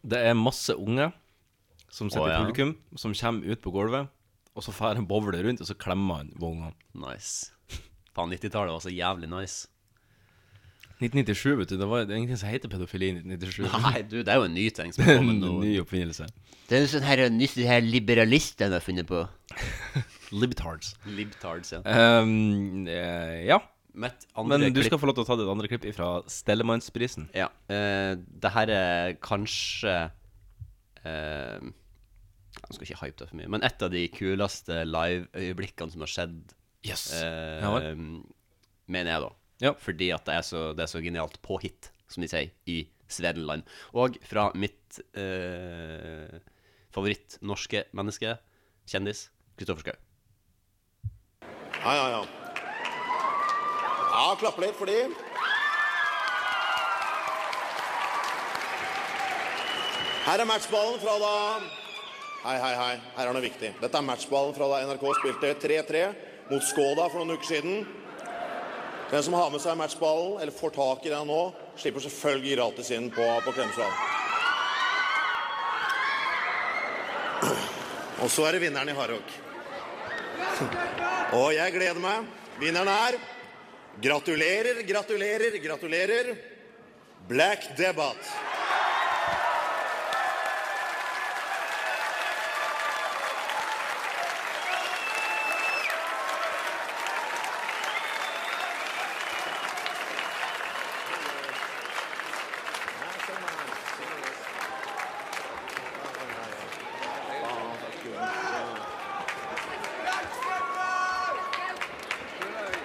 S2: Det er masse unge som sitter
S3: Å, ja.
S2: i publikum, som kommer ut på gulvet, og så får en bowler rundt, og så klemmer han vogna.
S3: Nice. Faen, 90-tallet var så jævlig nice.
S2: 1997, vet du. Det, var, det er ingenting som heter pedofili i 1997.
S3: Nei, du, det er jo en ny ting som er
S2: En
S3: kommet nå.
S2: ny oppfinnelse.
S5: Det er jo sånn her, nytt her liberalisten har funnet på.
S2: Libtards.
S3: Libtards, ja.
S2: Ehm, eh, ja.
S3: Mitt andre
S2: Men du
S3: klipp
S2: skal få lov til å ta ditt andre klipp fra Stellemannsprisen.
S3: Ja. eh, det her er kanskje eh, nå skal jeg ikke hype det for mye, men et av de kuleste live-øyeblikkene som har skjedd,
S2: Yes.
S3: eh,
S2: Ja vel.
S3: mener jeg, da.
S2: Ja.
S3: Fordi at det er, så, det er så genialt på hit, som de sier, i Svedenland. Og fra mitt eh, favoritt-norske menneske, kjendis, Kristoffer Schau.
S11: Ja, ja, ja. Ja, klappe litt for de. Her er matchballen fra da Hei, hei, hei. Her er noe viktig. Dette er matchballen fra da NRK spilte 3-3 mot Skoda for noen uker siden. Den som har med seg matchballen, eller får tak i den nå, slipper selvfølgelig gratis inn på, på Klemetsrad. Og så er det vinneren i hardrock. Og jeg gleder meg. Vinneren er Gratulerer, gratulerer, gratulerer. Black Debate.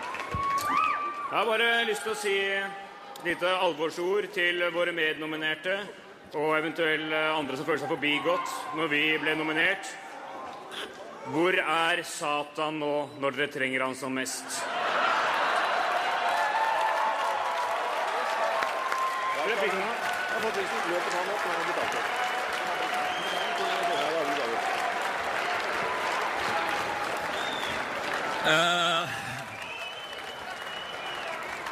S12: Jeg har bare lyst til å si et lite alvorsord til våre mednominerte og eventuelle andre som føler seg forbigått når vi ble nominert. Hvor er Satan nå når dere trenger han som mest?
S11: Hvor er prisen? Jeg har fått prisen. Løp og ta den opp, nå har jeg betalt den. Ja, det er vi glad i.
S13: Eh,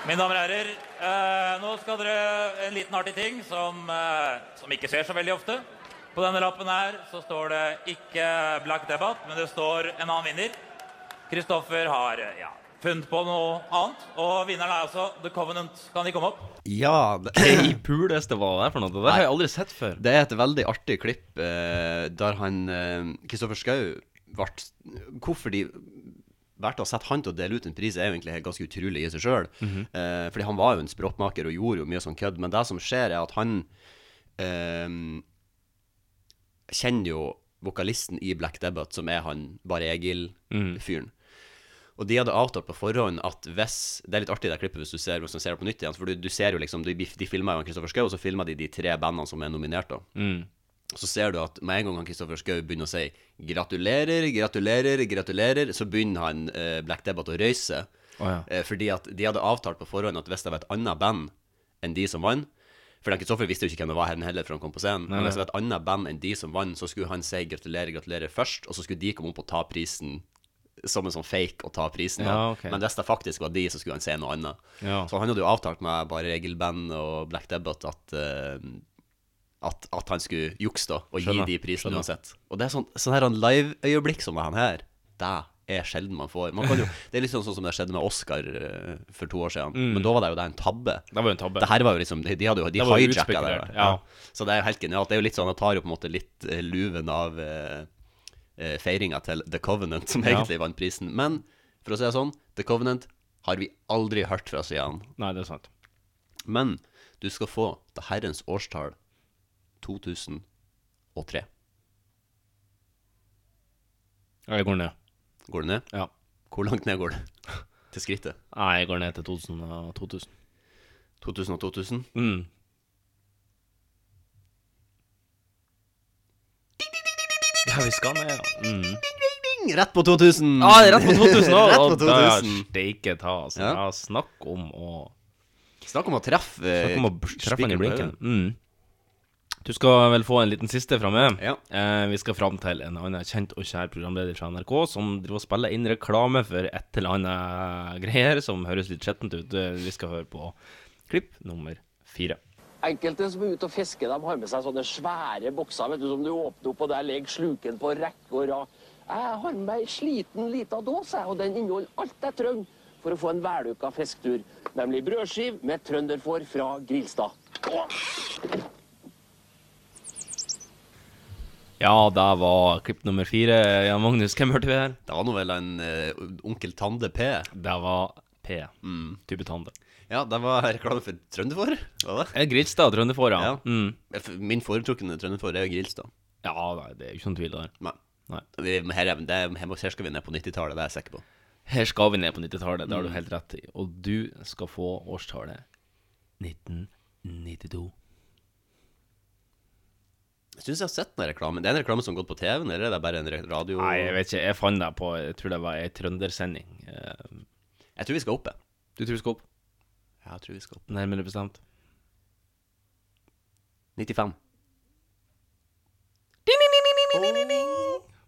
S13: mine damer og herrer, eh, nå skal dere en liten artig ting som, eh, som ikke skjer så veldig ofte. På denne lappen her så står det ikke Black Debate, men det står en annen vinner. Kristoffer har eh, ja, funnet på noe annet, og vinneren er altså The Covenant. Kan de komme opp?
S3: Ja det...
S2: Hei, puleste, hva var det for noe? Det der har jeg aldri sett før.
S3: Det er et veldig artig klipp eh, der han Kristoffer Schau ble Hvorfor de valgte å sette han til å dele ut en pris, er jo egentlig helt ganske utrolig i seg sjøl.
S14: Mhm.
S3: eh, fordi han var jo en språkmaker og gjorde jo mye sånn kødd. Men det som skjer, er at han eh, kjenner jo vokalisten i Black Debate, som er han Bare
S2: Mm,
S3: Egil-fyren. Og de hadde avtalt på forhånd at hvis Det er litt artig i det klippet hvis du ser, hvis du ser det på nytt igjen. For du, du ser jo liksom De, de filma jo han Kristoffer Schou, og så filma de de tre bandene som er nominert, da.
S2: Mm.
S3: Så ser du at med en gang han Kristoffer Schou begynner å si 'gratulerer, gratulerer, gratulerer', så begynner han eh, Black Debate å røyse.
S2: Å ja.
S3: Eh, fordi at de hadde avtalt på forhånd at hvis det var et annet band enn de som vant For Kristoffer visste jo ikke hvem det var hen heller før han kom på scenen.
S2: Nei,
S3: men
S2: nei.
S3: hvis det var et annet band enn de som vant, så skulle han si gratulerer, gratulerer først, og så skulle de komme opp og ta prisen som en sånn fake og ta prisen. da.
S2: Ja, ok.
S3: Men hvis det faktisk var de, så skulle han si noe annet.
S2: Ja.
S3: Så han hadde jo avtalt med bare regelband og Black Debate at eh, at, at han skulle jukse da, og
S2: Skjønner,
S3: gi de prisene
S2: skjønner.
S3: uansett. Og det er sånn, sånn her han live-øyeblikk som det han her, det er sjelden man får. Man kan jo, det er litt sånn, sånn som det skjedde med Oscar eh, for to år siden.
S2: Mm.
S3: Men da var det jo det en tabbe.
S2: Det var jo en tabbe.
S3: Det her var jo liksom, de, de hadde jo de
S2: Det var jo
S3: hijacket det.
S2: utspekulert,
S3: der.
S2: ja.
S3: Så det er jo helt genialt. Det er jo litt sånn, han tar jo på en måte litt eh, luven av eh, eh, feiringa til The Covenant, som
S2: Ja.
S3: egentlig vant prisen. Men for å si det sånn, The Covenant har vi aldri hørt fra siden.
S2: Nei, det er sant.
S3: Men du skal få det herrens årstall 2003.
S2: Ja, jeg går ned.
S3: Går det ned?
S2: Ja.
S3: Hvor langt ned går det? Til skrittet?
S2: Nei, jeg går ned til 2000 og 2000.
S3: 2000 og 2000?
S2: Mm. Ja, vi skal ned, ja. Mm.
S3: Ding, Rett på 2000!
S2: Ja, det er rett på 2000 òg!
S3: rett på 2000.
S2: Steike ta, altså.
S3: Ja.
S2: Ja. snakk om å
S3: Snakk om å treffe eh,
S2: Snakk om å b- treffe den i
S3: spikeren på
S2: blinken.
S3: øyet.
S2: Mm. Du skal vel få en liten siste fra meg.
S3: Ja.
S2: Eh, vi skal fram til en annen kjent og kjær programleder fra NRK som driver og spiller inn reklame for et eller annet greier som høres litt skjettent ut. Eh, Vi skal høre på klipp nummer fire.
S15: Enkelte som er ute og fisker, de har med seg sånne svære bokser vet du, som du åpner opp, og der ligger sluken på rekke og rad. Jeg har med meg ei sliten lita dås, jeg, og den inneholder alt jeg trenger for å få en vellykka fisketur. Nemlig brødskiv med trønderfår fra Grilstad.
S2: Ja, det var klipp nummer fire. Jan Magnus, hvem hørte vi her?
S3: Det var nå vel en eh, onkel Tande P.
S2: Det var P. Type Tande.
S3: Ja, det var reklame for
S2: Eh,
S3: Trønderfor. Var det?
S2: Grilstad og Trønderfor, ja.
S3: Min foretrukne Trønderfor er jo Grilstad.
S2: Mm. Ja, nei, det er jo ikke noen tvil der.
S3: Nei. Vi- Her, er- det, er- her skal vi ned på 90-tallet, det er jeg sikker på.
S2: Her skal vi ned på 90-tallet, det har du
S3: Mm.
S2: helt rett i. Og du skal få årstallet 1992.
S3: Jeg syns jeg har sett den reklamen. Det er en reklame som har gått på TV-en, eller er det bare en re- radio...?
S2: Nei, jeg vet ikke. Jeg fant deg på Jeg tror det var ei trøndersending. eh.
S3: Jeg tror vi skal opp, jeg.
S2: Du tror vi skal opp?
S3: Ja, jeg tror vi skal opp.
S2: Nærmere bestemt.
S3: 95.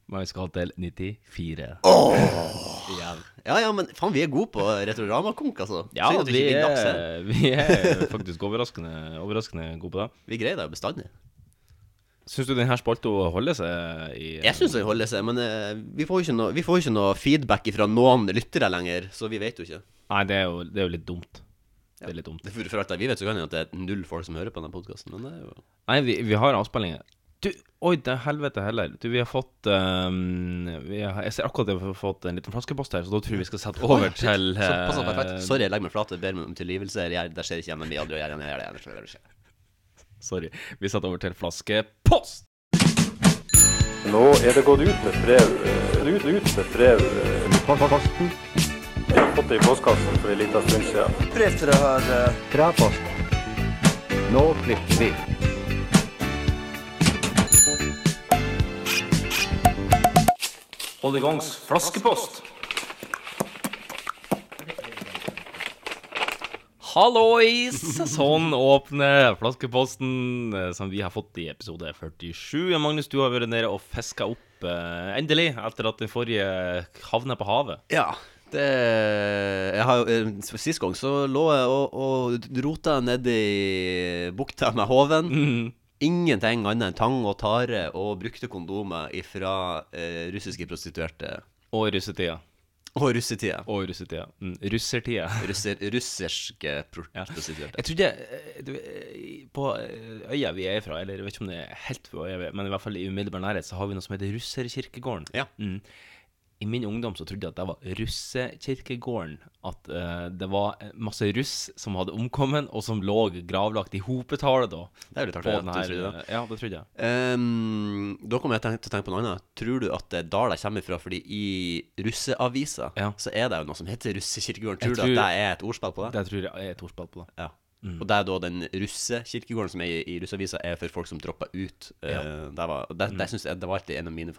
S2: Men vi skal ha til 94.
S3: Ja. ja, ja, men faen, vi er gode på retorama-konk, altså.
S2: Ja,
S3: Synd at
S2: vi
S3: ikke daps
S2: er,
S3: her.
S2: vi er faktisk overraskende, overraskende gode på det.
S3: Vi greier det jo bestandig.
S2: Syns du denne spalta holder seg i
S3: Jeg syns den holder seg, men eh, vi får jo ikke noe, vi får jo ikke noe feedback fra noen lyttere lenger, så vi vet jo ikke.
S2: Nei, det er jo, det er jo litt dumt. Det er litt dumt.
S3: For, for alt det vi vet, så kan det jo at det er null folk som hører på denne podkasten, men det er jo
S2: Nei, vi, vi har avspillinger. Du, oi, det er helvete heller. Du, vi har fått ehm, vi har, Jeg ser akkurat at vi har fått en liten flaskepost her, så da tror jeg vi skal sette over
S3: Oi, shit.
S2: til
S3: Så, pass opp,
S2: eh,
S3: perfekt. Sorry, jeg legger meg flat. Jeg ber meg om tilgivelse. Jeg, det skjer ikke hjemme. Vi aldri gjør det. Jeg gjør det, jeg gjør det, jeg gjør det.
S2: Sorry. Vi setter over til flaskepost.
S14: Nå er det gått ut med brev. eh, Ut, ut med brev. Postkassen. Jeg har fått det i postkassen for en liten stund siden.
S4: Brev til det her
S14: Fra posten. Nå klikker vi.
S2: Hold i gangs flaskepost. Hallois! Sånn åpner flaskeposten eh, som vi har fått i episode 47. Ja, Magnus, du har vært nede og fiska opp eh, endelig, etter at den forrige havna på havet.
S3: Ja. Det, jeg har, jo- eh, sist gang så lå jeg og, og rota nedi bukta med håven.
S2: Mhm.
S3: Ingenting annet enn tang og tare og brukte kondomer ifra eh, russiske prostituerte.
S2: Og russetida.
S3: Og russetida.
S2: Og russetida. Mm, russertida.
S3: Russer, russerske pro prostituerte.
S2: Jeg trodde eh, du, eh, På eh, øya vi er fra, eller jeg vet ikke om det er helt på øya, vi er, men i hvert fall i umiddelbar nærhet, så har vi noe som heter Russerkirkegården. Mm. I min ungdom så trodde jeg at det var russekirkegården. At eh, det var masse russ som hadde omkommet, og som lå gravlagt i hopetall da.
S3: Det er jo litt artig
S2: på
S3: at du
S2: den her,
S3: trodde det.
S2: eh, Ja, det trodde jeg.
S3: Ehm, da kommer jeg tenk- til å tenke på noe annet. Tror du at det er der de kommer fra? Fordi i russeavisa så er det jo noe som heter russekirkegården. Tror,
S2: Jeg
S3: du
S2: tror-
S3: at det er et ordspill på det?
S2: Det tror jeg er et ordspill på det.
S3: Ja.
S2: Mm.
S3: Og det er da den russekirkegården som er i, i russeavisa, er for folk som dropper ut. Eh, det, var, det, det, synes jeg, det var alltid en av mine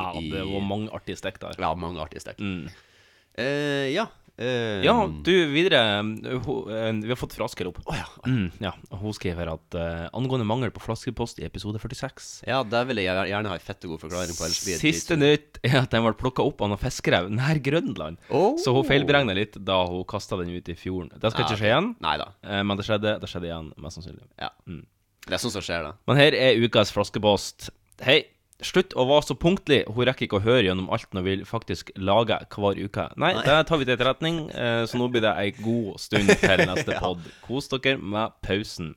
S2: Mm. Ja,
S3: i
S2: det var mange artige Mm. stekk der.
S3: Ja, mange artige stekk. Eh, ja. eh,
S2: Ja, du, videre. eh, ho- eh, Vi har fått fra Asker opp. Mm, ja. og Hun skriver at eh, angående mangel på flaskepost i episode 46
S3: Ja, det vil jeg gjerne- gjerne ha en fette god forklaring på. ellers blir det
S2: Siste
S3: dritfint.
S2: nytt er at den ble plukka opp av noen fiskere nær Grønland. Så hun feilberegna litt da hun kasta den ut i fjorden. Det skal
S3: Ja,
S2: ikke skje igjen,
S3: Neida.
S2: eh, men det skjedde, det skjedde igjen, mest sannsynlig. Mm.
S3: Det er sånt som skjer, da.
S2: Men her er ukas flaskepost. Hei. Slutt å være så punktlig. Hun rekker ikke å høre gjennom alt når vi faktisk lager hver uke. Nei, det tar vi til etterretning, eh, så nå blir det ei god stund til neste
S3: Ja.
S2: pod. Kos dere med pausen.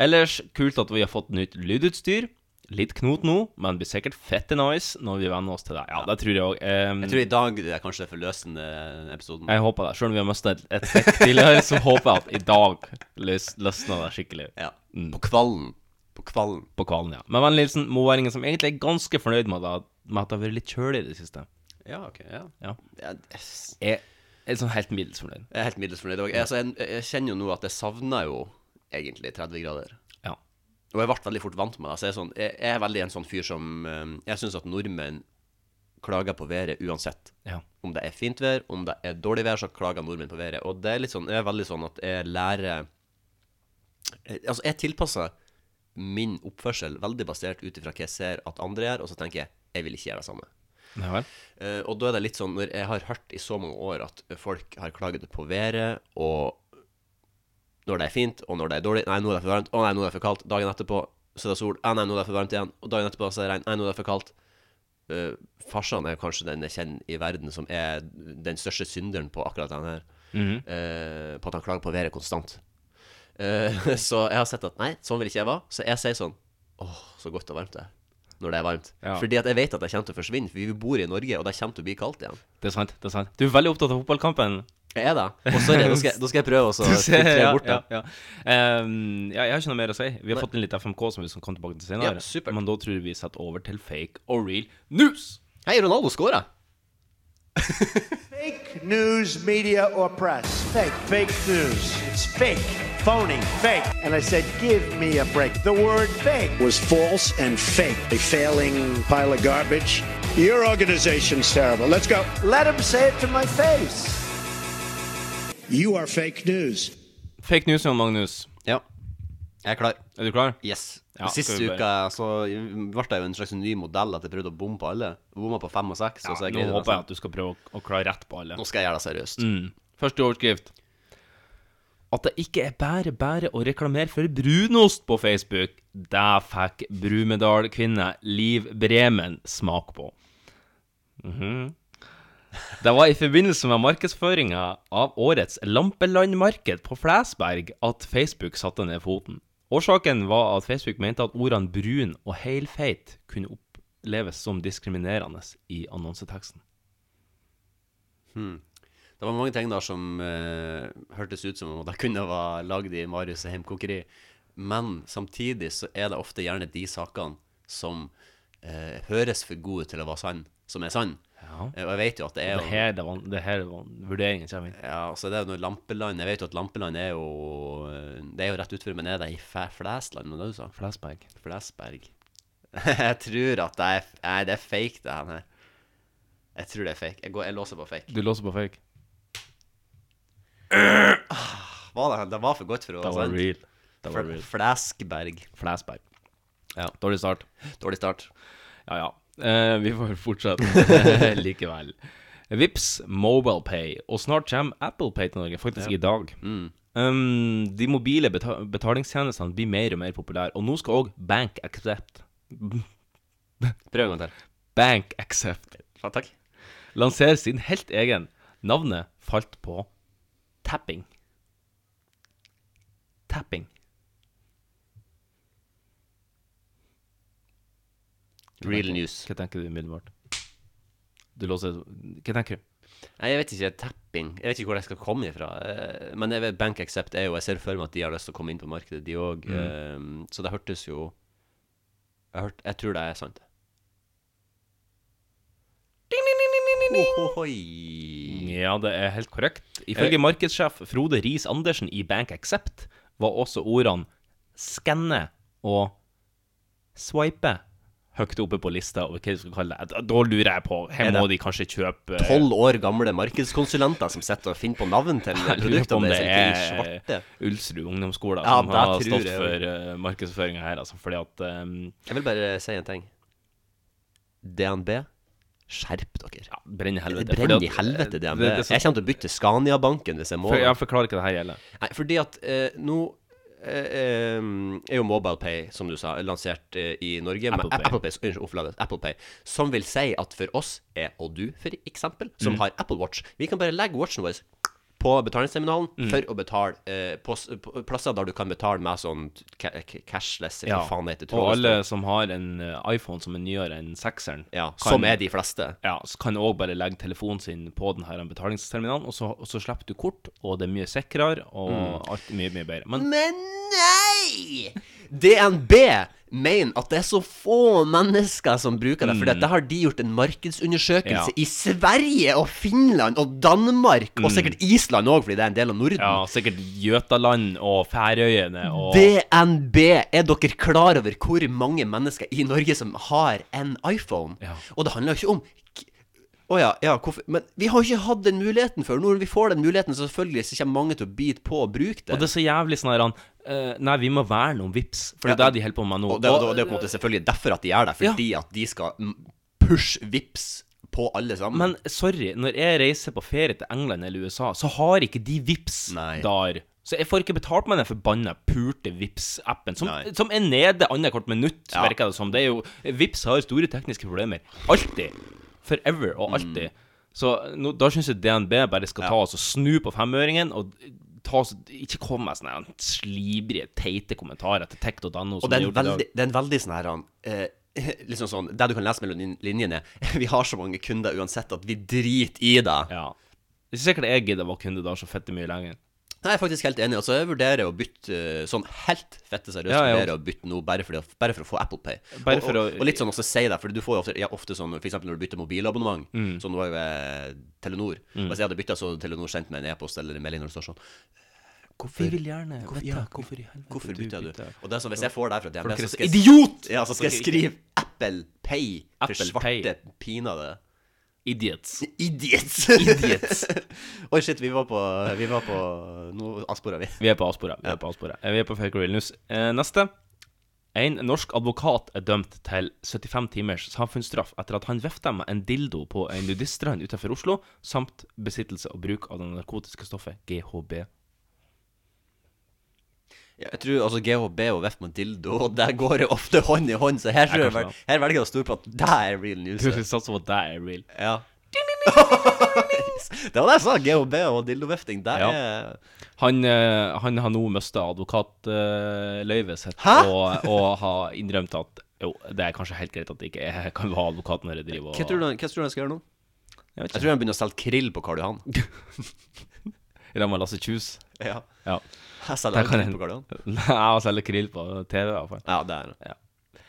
S2: Ellers kult at vi har fått nytt lydutstyr. Litt knot nå, men blir sikkert fette nice når vi venner oss til det. Ja, det tror jeg òg.
S3: Jeg tror i dag det er kanskje forløsende episoden.
S2: Jeg håper det. Selv om vi har mista et, et trekk tidligere, så håper jeg at i dag løs, løsna det skikkelig. Mm.
S3: På kvallen. På kvallen.
S2: På kvallen, ja. Med vennlig hilsen moværingen, som egentlig er ganske fornøyd med, at- med at det har vært litt kjølig i det siste.
S3: Ja, ok. Ja.
S2: Ja.
S3: Jeg,
S2: Jeg er sånn helt middels fornøyd.
S3: jeg er helt middels fornøyd. Og jeg, altså, jeg, jeg kjenner jo nå at jeg savner jo egentlig 30 grader.
S2: Ja.
S3: Og jeg ble veldig fort vant med det. Så jeg, er sånn, jeg, jeg er veldig en sånn fyr som eh, Jeg syns at nordmenn klager på været uansett.
S2: Ja.
S3: Om det er fint vær, om det er dårlig vær, så klager nordmenn på været. Og det er litt sånn, jeg er veldig sånn at jeg lærer Eh, Altså, jeg tilpasser min oppførsel veldig basert ut ifra hva jeg ser at andre gjør, og så tenker jeg jeg vil ikke gjøre det samme.
S2: Ja vel.
S3: Eh, og da er det litt sånn, når jeg har hørt i så mange år at folk har klaget på været, og når det er fint, og når det er dårlig Nei, nå er det for varmt. Å nei, nå er det for kaldt. Dagen etterpå så er det sol. Å nei, nå er det for varmt igjen. Og dagen etterpå så er det regn. Nei, nå er det for kaldt. Eh, farsan er kanskje den jeg kjenner i verden som er den største synderen på akkurat den her.
S2: Mhm.
S3: Eh, på at han klager på været konstant. Eh, så jeg har sett at nei, sånn vil ikke jeg være. Så jeg sier sånn Åh, så godt og varmt det er. Når det er varmt.
S2: Ja.
S3: Fordi at jeg vet at det kommer til å forsvinne. For vi bor i Norge, og det kommer til å bli kaldt igjen.
S2: Det er sant. det er sant Du er veldig opptatt av fotballkampen.
S3: Jeg er det. Og sorry, da skal, jeg- da skal jeg prøve også å
S2: Ja,
S3: filtrere bort det.
S2: ja, ja. Ehm, ja, jeg har ikke noe mer å si. Vi har fått inn litt FMK som vi skal komme tilbake til senere.
S3: Ja,
S2: men da tror jeg vi setter over til fake or real news.
S3: Hei, Ronaldo scora!
S16: Fake news, media, or press. Fake. Fake news. It's fake. Phony. Fake. And I said, give me a break. The word fake was false and fake. A failing pile of garbage. Your organization's terrible. Let's go. Let him say it to my face. You are fake news.
S2: Fake news, Jan Magnus.
S3: Ja. Jeg er klar.
S2: Er du klar?
S3: Yes.
S2: Ja,
S3: Sist
S2: skal vi
S3: uke så ble jeg jo en slags ny modell at jeg prøvde å bomme på alle. Bomma på fem og seks. og så
S2: nå håper jeg altså. at du skal prøve å, å klare rett på alle.
S3: Nå skal jeg gjøre det seriøst.
S2: Mm. Første overskrift. At det ikke er bare bare å reklamere for brunost på Facebook. Det fikk Brumunddal-kvinne Liv Bremen smak på. Mhm. Det var i forbindelse med markedsføringa av årets Lampelandmarked på Flesberg at Facebook satte ned foten. Årsaken var at Facebook mente at ordene brun og helfeit kunne oppleves som diskriminerende i annonseteksten.
S3: Hmm. Det var mange ting der som eh, hørtes ut som om det kunne være lagd i Marius' heimkokeri. Men samtidig så er det ofte gjerne de sakene som eh, høres for gode til å være sann, som er sann. Eh, og jeg vet jo at det er
S2: Og det her er van- det her er van- vurderingen kommer inn.
S3: Ja, altså det er jo noe Lampeland Jeg vet jo at Lampeland er jo eh, Det er jo rett utfor, men er det i Fæ- Flesland, var det du sa?
S2: Flesberg.
S3: Flesberg. jeg tror at det er Nei, det er fake, det her. Jeg tror det er fake. Jeg, går, jeg låser på fake.
S2: Du låser på fake.
S3: Var det, det var for godt for å
S2: Det var real. Det var
S3: Fl-
S2: real.
S3: Fleskberg.
S2: Flesberg. Dårlig start.
S3: Dårlig start.
S2: Ja, ja. Eh, vi får fortsette likevel. Vips, MobilePay, og snart kommer ApplePay til Norge, faktisk
S3: Ja. Mm.
S2: i dag. Um, de mobile beta betalingstjenestene blir mer og mer populære, og nå skal òg Bank Accept
S3: Prøv en gang til.
S2: Bank Accept
S3: Ja, takk.
S2: lansere sin helt egen. Navnet falt på tapping. Tapping.
S3: Real news.
S2: Hva tenker du umiddelbart? Du låser Hva tenker du?
S3: Nei, jeg vet ikke. Tapping. Jeg vet ikke hvor det skal komme ifra. Eh, Men jeg vet, Bank Accept er jo Jeg ser for meg at de har lyst til å komme inn på markedet, de òg.
S2: Mm.
S3: Så det hørtes jo jeg, hørt, jeg tror det er sant.
S2: Ja, det er helt korrekt. Ifølge markedssjef Frode Riis Andersen i Bank Accept var også ordene skanne og swipe høyt oppe på lista over hva du skal kalle det. Da lurer jeg på Her
S3: Er det
S2: må de kanskje kjøpe eh,
S3: Tolv år gamle markedskonsulenter som sitter og finner på navn til
S2: Jeg lurer på om
S3: produktene
S2: det
S3: deres. ikke i svarte.
S2: er Ulsrud ungdomsskole
S3: Ja,
S2: som
S3: det
S2: har
S3: tror
S2: stått
S3: jeg
S2: for uh, markedsføringa her, altså, fordi at ehm,
S3: Jeg vil bare si en ting. DNB, skjerp dere.
S2: Ja, brenn i helvete.
S3: Det
S2: Fordi
S3: brenner i
S2: at,
S3: helvete,
S2: eh,
S3: DNB.
S2: det- det er så-
S3: Jeg kommer til å bytte Scania-banken hvis jeg må.
S2: for, Jeg forklarer ikke det her gjelder.
S3: Nei, fordi at eh, nå eh, em, er jo MobilePay, som du sa, lansert eh, i Norge. med
S2: Apple Pay.
S3: Apple Pay, unnskyld, oppleves Apple Pay. Som vil si at for oss er, og du for eksempel, som
S2: Mm.
S3: har Apple Watch, vi kan bare legge watchen vår på betalingsterminalen
S2: Mm.
S3: for å betale eh, på, s- på plasser der du kan betale med sånn ca cashless, eller hva faen det heter.
S2: og
S3: trådløst.
S2: alle som har en eh, iPhone som er nyere enn sekseren
S3: Ja, som er de fleste.
S2: Ja, så kan òg bare legge telefonen sin på den her betalingsterminalen, og så, og så slipper du kort, og det er mye sikrere, og
S3: Mm.
S2: alt er mye, mye bedre. Men
S3: Men nei! DNB mener at det er så få mennesker som bruker det, for
S2: Mm.
S3: dette har de gjort en markedsundersøkelse
S2: Ja.
S3: i Sverige og Finland og Danmark, og
S2: Mm.
S3: sikkert Island òg, fordi det er en del av Norden.
S2: ja, sikkert Jøtaland og Færøyene og
S3: DNB, er dere klar over hvor mange mennesker i Norge som har en iPhone? Og det handler jo ikke om å ja, ja, hvorfor Men vi har jo ikke hatt den muligheten før. Når vi får den muligheten, så selvfølgelig så kommer mange til å bite på og bruke det.
S2: Og det er så jævlig sånn her han, eh, Nei, vi må verne om Vips for det er
S3: Ja.
S2: det de holder på med nå.
S3: Og det, og det er på en måte selvfølgelig derfor at de gjør det, fordi at de skal mm, pushe vips på alle sammen.
S2: Men sorry, når jeg reiser på ferie til England eller USA, så har ikke de Vips der. Så jeg får ikke betalt med den forbanna purte vips appen som,
S3: Nei.
S2: som er nede annethvert minutt,
S3: Ja.
S2: virker det som. Det er jo, Vips har store tekniske problemer. Alltid. Forever og alltid. Så nå, da syns jeg DNB bare skal ta oss og snu på femøringen. og ta oss, ikke komme med sånne her slibrige, teite kommentarer til tech.no.
S3: og
S2: som
S3: det
S2: de har
S3: er, en
S2: gjort i dag.
S3: veldig, det er en veldig sånn her han, eh, Liksom sånn Det du kan lese mellom lin- linjene Vi har så mange kunder uansett at vi driter i det.
S2: Det er ikke sikkert jeg gidder å være kunde da så fette mye lenger.
S3: Nei, jeg er faktisk helt enig. Altså, jeg vurderer å bytte eh, sånn helt fette seriøst.
S2: Ja, jeg
S3: vurderer å bytte nå bare, fordi, bare for å få Apple Pay.
S2: Bare
S3: og,
S2: for
S3: og,
S2: å-
S3: og litt sånn også si det, for du får jo ofte, ja, ofte sånn For eksempel når du bytter mobilabonnement,
S2: Mm.
S3: så nå er jo jeg Telenor.
S2: Mm.
S3: Hvis jeg hadde bytta, så hadde Telenor sendt meg en e-post eller en melding når det står sånn
S2: Vi vil gjerne vite hvorfor i helvete
S3: Hvorfor bytter du?
S2: bytter.
S3: Og det er sånn, hvis jeg får det her fra DNB,
S2: Folk
S3: så
S2: er
S3: skal jeg
S2: sk- Idiot!
S3: Ja, så skal jeg skrive Apple Pay for
S2: Apple
S3: svarte pinadø
S2: Idiots.
S3: Idiots!
S2: Idiots.
S3: Oi, shit, vi var på, vi var på Nå avspora vi.
S2: Vi er på avsporet. Vi er på, avsporet. Eh, Vi er på Fake Real News. Eh, neste. En norsk advokat er dømt til 75 timers samfunnsstraff etter at han vifta med en dildo på en nudiststrand utenfor Oslo, samt besittelse og bruk av det narkotiske stoffet GHB.
S3: Ja, Jeg tror altså GHB og VEF med dildo, og der går det ofte hånd i hånd, så her, tror jeg,
S2: kanskje
S3: vel- her velger jeg å stole på at det er real news.
S2: Plutselig satser på at det er real.
S3: Ja. det var det jeg sa, GHB og dildovefting. Det
S2: Ja.
S3: er
S2: Han, eh, han har nå mista advokatløyvet sitt
S3: Hæ?
S2: og, og har innrømt at jo, det er kanskje helt greit at jeg ikke jeg kan være advokat når jeg driver og
S3: Hva tror du han hva tror du han skal gjøre nå?
S2: Jeg vet ikke.
S3: tror han begynner å selge krill på Karl Johan.
S2: I lag med Lasse Kjus.
S3: Ja.
S2: ja.
S3: Jeg selger
S2: Der kan
S3: aldri krill
S2: en-
S3: på Karl Johan.
S2: Nei, jeg selger krill på TV, i hvert fall.
S3: Ja, det er det.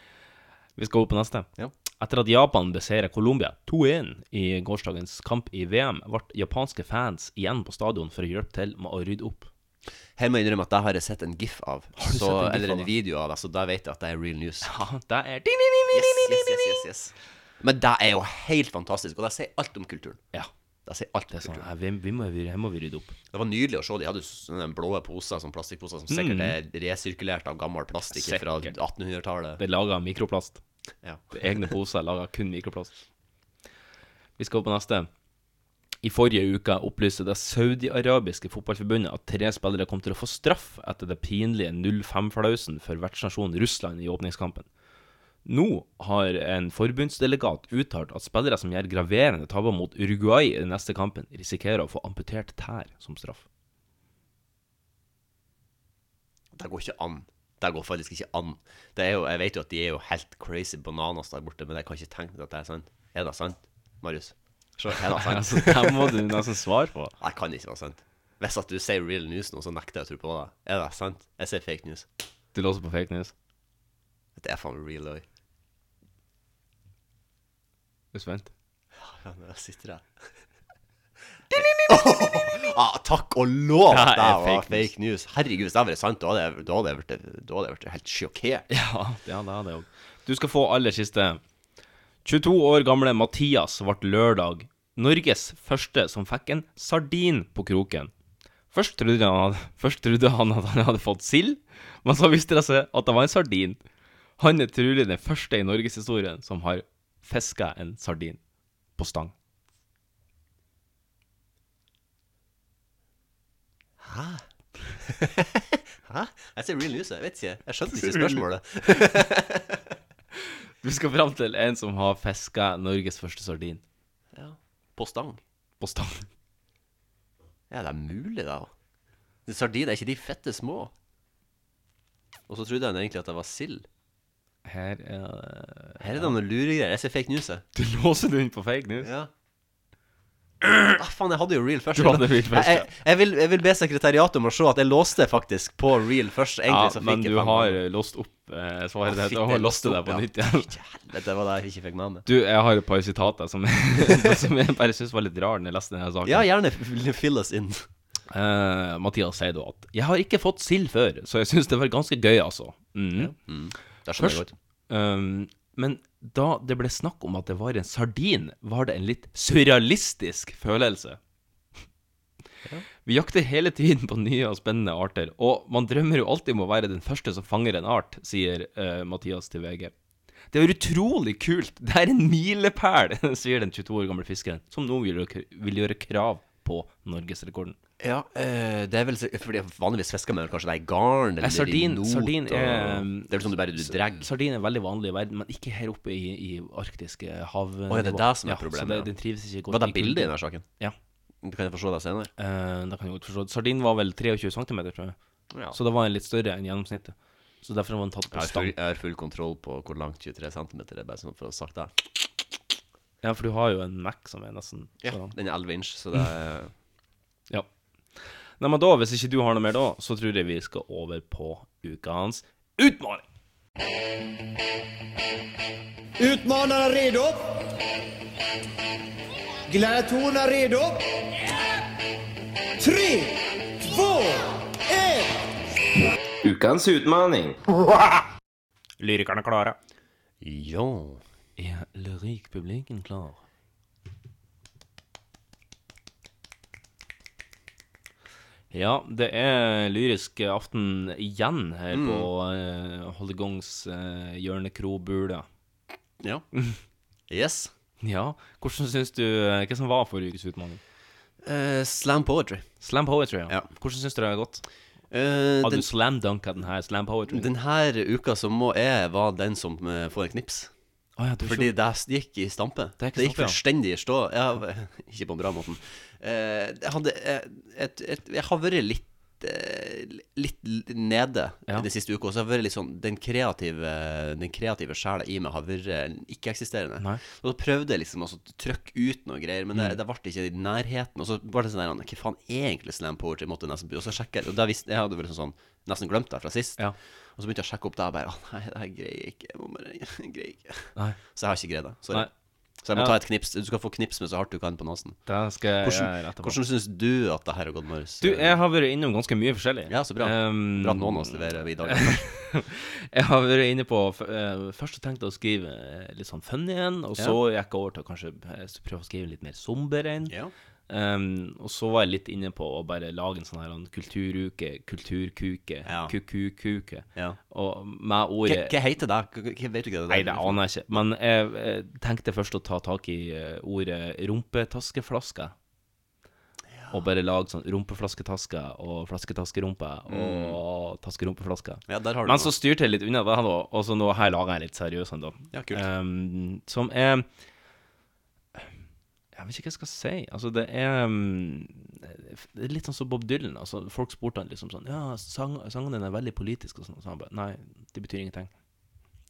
S2: Vi skal over på neste.
S3: Ja.
S2: Etter at Japan beseirer Colombia 2-1 i gårsdagens kamp i VM, ble japanske fans igjen på stadion for å hjelpe til med å rydde opp.
S3: Her må jeg innrømme at det har jeg sett en gif av,
S2: du
S3: så,
S2: sett en gif
S3: eller
S2: av
S3: en
S2: det?
S3: video av, det, så da vet jeg at det er real news.
S2: Ja, det er
S3: Yes, yes, yes, yes, yes. Men det er jo helt fantastisk, og det sier alt om kulturen.
S2: Ja.
S3: Det sier alt
S2: Det
S3: om
S2: er sånn,
S3: kulturen.
S2: her, vi, vi må, vi, her må vi rydde opp.
S3: Det var nydelig å se. De hadde jo sånne blå poser, sånne plastikkposer, som sikkert
S2: Mm.
S3: er resirkulert av gammel plastikk fra
S2: Sikkert.
S3: 1800-tallet.
S2: Det er laga mikroplast.
S3: Ja.
S2: Det er egne poser er laga kun mikroplast. Vi skal over på neste. I forrige uke opplyste det saudiarabiske fotballforbundet at tre spillere kom til å få straff etter det pinlige 0-5-flausen for vertsnasjonen Russland i åpningskampen. Nå har en forbundsdelegat uttalt at spillere som gjør graverende tabber mot Uruguay i den neste kampen, risikerer å få amputert tær som straff.
S3: Det går ikke an. Det går faktisk ikke an. Det er jo, jeg vet jo at de er jo helt crazy bananas der borte, men jeg kan ikke tenke meg at det er sant. Er det sant, Marius? Se, Er det sant?
S2: Altså, det må du nesten svare på.
S3: Jeg kan ikke være sant. Hvis at du sier real news nå, så nekter jeg å tro på det. Er det sant? Jeg sier fake news.
S2: Du låser på fake news.
S3: Det er faen meg real òg.
S2: Er du spent?
S3: Ja, nå sitter jeg. Ah, takk og lov!
S2: Det
S3: Det
S2: er
S3: var
S2: fake
S3: fake, news. Herregud, hvis det hadde vært sant, da hadde jeg- da hadde jeg vært- da hadde jeg vært helt sjokkert.
S2: Ja, ja det er det òg. Du skal få aller siste. 22 år gamle Mathias ble lørdag Norges første som fikk en sardin på kroken. Først trodde han, først trodde han at han hadde fått sild, men så viste det seg at det var en sardin. Han er trolig den første i norgeshistorien som har fiska en sardin på stang.
S3: Hæ? Hæ? Jeg sier real news, jeg vet ikke. Jeg skjønte ikke spørsmålet.
S2: Vi skal fram til en som har fiska Norges første sardin
S3: På stang?
S2: på stang.
S3: Ja, det er mulig, da. Sardiner, er ikke de fette små? Og så trodde han egentlig at det var sild.
S2: Her er
S3: Her er det noen luregreier. Jeg sier fake news, jeg.
S2: Du låser den inn på fake news?
S3: Ja. Ah, faen, jeg hadde jo real først.
S2: Du hadde real først,
S3: Jeg, jeg, jeg, vil, jeg vil be sekretariatet om å se at jeg låste faktisk på real først. Egentlig,
S2: ja,
S3: så fikk
S2: men
S3: jeg
S2: du
S3: fem
S2: har
S3: ganger.
S2: låst opp eh,
S3: Ah,
S2: svaret ditt
S3: fitte,
S2: og
S3: jeg
S2: har låst det
S3: låste
S2: der på
S3: opp,
S2: nytt igjen.
S3: Fitte, helvete, det var det jeg ikke fikk med meg.
S2: Du, jeg har et par sitater som, som jeg bare syns var litt rar når jeg leste denne saken.
S3: Ja, gjerne f- fill us in.
S2: Eh, Mathias sier da at 'Jeg har ikke fått sild før, så jeg syns det var ganske gøy, altså'. Mhm.
S3: Det skjønner jeg
S2: Først, ehm, men da det ble snakk om at det var en sardin, var det en litt surrealistisk følelse. Vi jakter hele tiden på nye og spennende arter, og man drømmer jo alltid om å være den første som fanger en art, sier eh, Mathias til VG. Det er utrolig kult! Det er en milepæl, sier den 22 år gamle fiskeren, som nå vil, gjøre- vil gjøre krav på norgesrekorden.
S3: Ja, eh, det er vel sikkert- Fordi vanligvis fisker man vel kanskje det i garn eller
S2: Nei, Eh, sardin,
S3: i not.
S2: sardin er um,
S3: og, det er vel sånn du bare du dregger.
S2: Sardin er veldig vanlig i verden, men ikke her oppe i, i arktiske hav.
S3: Å, er det det som er problemet?
S2: Ja, så det, den trives ikke godt.
S3: Var det
S2: i
S3: bildet altså? i
S2: kulden.
S3: denne saken?
S2: Ja.
S3: Du kan jeg få se det senere.
S2: Eh, det kan jeg godt forstå. Sardin var vel 23 cm, tror jeg.
S3: Ja.
S2: Så det var en litt større enn gjennomsnittet. Så derfor var den tatt
S3: Jeg
S2: på
S3: har, full,
S2: stang.
S3: jeg har full kontroll på hvor langt 23 cm er, bare sånn for å ha sagt det.
S2: Ja, for du har jo en Mac som er nesten
S3: Ja,
S2: foran.
S3: den er 11 inch, så det er
S2: Ja. Nei, men da, hvis ikke du har noe mer da, så tror jeg vi skal over på ukens utfordring.
S17: Utmanarna redo? Gladiatorerna redo? Tre, två, ett!
S2: Ukens utfordring. Lyrikerne klare. Ja. Er lyrikkpublikken klar? Ja, det er lyrisk aften igjen her
S3: Mm.
S2: på uh, Holdegongs eh, hjørnekrobule.
S3: Ja. Yes.
S2: Ja. Hvordan syns du eh, Hva som var forrige ukes utfordring?
S3: Eh, slam poetry.
S2: Slam poetry, ja. Hvordan syns du det har gått? Har du slam dunka den her slam poetry?
S3: Denne uka så må jeg være den som eh, får en knips.
S2: Å ja, du
S3: Fordi det gikk i stampe.
S2: Det gikk i stampe,
S3: gikk
S2: ja.
S3: fullstendig i stå. Jeg, har- ikke på den bra måten. Eh, jeg, hadde, jeg, et, et, jeg har vært litt eh, Litt nede
S2: Ja.
S3: de siste uka. og Så har jeg vært litt sånn Den kreative Den kreative sjela i meg har vært eh, ikke-eksisterende.
S2: Nei.
S3: Og så prøvde jeg liksom å så trykke ut noe greier, men det,
S2: Mm.
S3: det ble ikke i nærheten. Og så var det sånn der Hva faen er egentlig slam poetry? Måtte jeg nesten, be- og så sjekke, og da visste, jeg hadde vel sånn, sånn nesten glemt det fra sist. Og så begynte jeg å sjekke opp det, og jeg bare «Å, Nei, det her greier jeg ikke. Jeg må bare, jeg greier ikke.
S2: Nei.
S3: Så jeg har ikke greid det. Sorry.
S2: Nei.
S3: Så jeg må
S2: Ja.
S3: ta et knips. Du skal få knips med så hardt du kan på nesen.
S2: Det skal jeg
S3: hvordan,
S2: gjøre etterpå.
S3: Hvordan syns du at det her har gått, Marius?
S2: Du, jeg har vært innom ganske mye forskjellig.
S3: Ja, så bra.
S2: Ehm,
S3: Bra at noen av oss leverer i dag.
S2: jeg har vært inne på f- eh, Først så tenkte jeg å skrive eh, litt sånn funny en, og så gikk jeg over til å kanskje eh, s- prøve å skrive litt mer somber en. Ehm, og så var jeg litt inne på å bare lage en sånn her en kulturuke, kulturkuke, kukukuke. Og med ordet
S3: Hva- hva heter det? Hva- hva- vet du hva det er?
S2: Nei, det aner jeg ikke. Men jeg, jeg tenkte først å ta tak i eh, ordet rumpetaskeflaske. Og bare lage sånn rumpeflasketaske og flasketaskerumpe og taskerumpeflaske.
S3: Ja, der har du
S2: Men
S3: noe.
S2: så styrte jeg litt unna det, her da, og så nå her lager jeg litt seriøs en, da.
S3: Ja, kult.
S2: Ehm, som er Jeg vet ikke hva jeg skal si. Altså, det er mm, det er litt sånn som Bob Dylan. Altså, folk spurte han liksom sånn Ja, sang, sangene dine er veldig politiske og sånn. Og så han bare Nei, det betyr ingenting.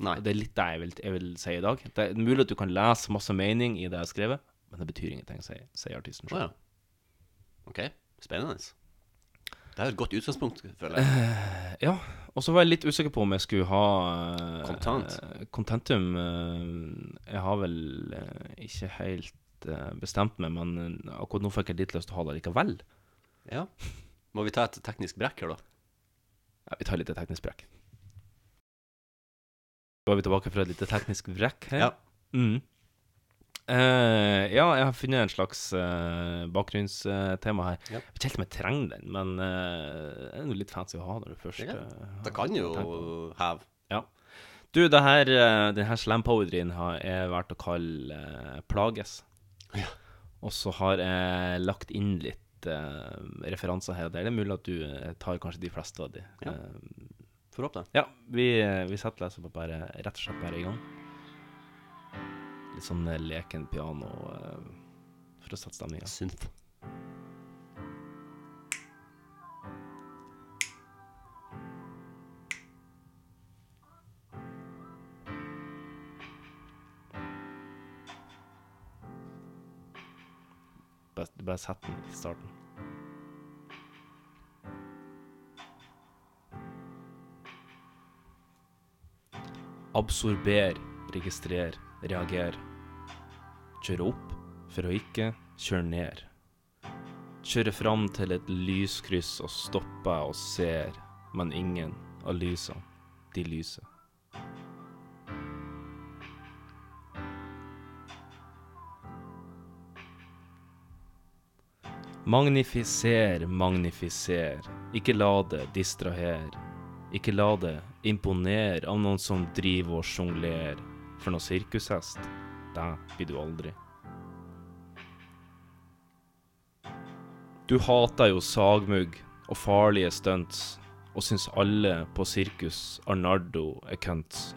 S3: Nei.
S2: Det er litt det jeg vil, jeg vil si i dag. Det er mulig at du kan lese masse mening i det jeg har skrevet, men det betyr ingenting, sier, sier artisten
S3: Å,
S2: sjøl.
S3: ja. OK, spennende. Det er jo et godt utgangspunkt, føler jeg.
S2: Ja. Og så var jeg litt usikker på om jeg skulle ha eh,
S3: Content.
S2: eh, Contentum. eh, jeg har vel eh, ikke helt eh, bestemt meg, men eh, akkurat nå fikk jeg litt lyst til å ha det likevel.
S3: Ja. Må vi ta et teknisk brekk her, da?
S2: Ja, vi tar litt teknisk brekk. Da er vi tilbake fra et lite teknisk brekk her.
S3: Ja.
S2: Mm. Eh, ja, jeg har funnet en slags eh, bakgrunnstema her.
S3: Ja.
S2: Jeg vet ikke helt om jeg trenger den, men eh, det er jo litt fancy å ha når du først
S3: Det kan-
S2: eh,
S3: det kan jo
S2: tenker på det.
S3: have.
S2: Ja. Du, det her, eh, den her slam poweryen har jeg valgt å kalle eh, Plages. Og så har jeg lagt inn litt eh, referanser her og der. Det er mulig at du eh, tar kanskje de fleste av de.
S3: Ja.
S2: Eh,
S3: Får håpe det.
S2: ja, vi, eh, vi setter leser på bare, rett og slett bare i gang. Litt sånn eh, leken piano eh, for å sette stemninga.
S3: Synth.
S2: Bare, bare sett den i starten. Absorber, registrer, reager. Kjøre opp for å ikke kjøre ned. Kjøre fram til et lyskryss og stoppe og ser, men ingen av lysene, de lyser. Magnifiser, magnifiser. Ikke la det distraher. Ikke la det imponere av noen som driver og sjonglerer. For noe sirkushest, det blir du aldri. Du hater jo sagmugg og farlige stunts, og syns alle på sirkus Arnardo er cunts.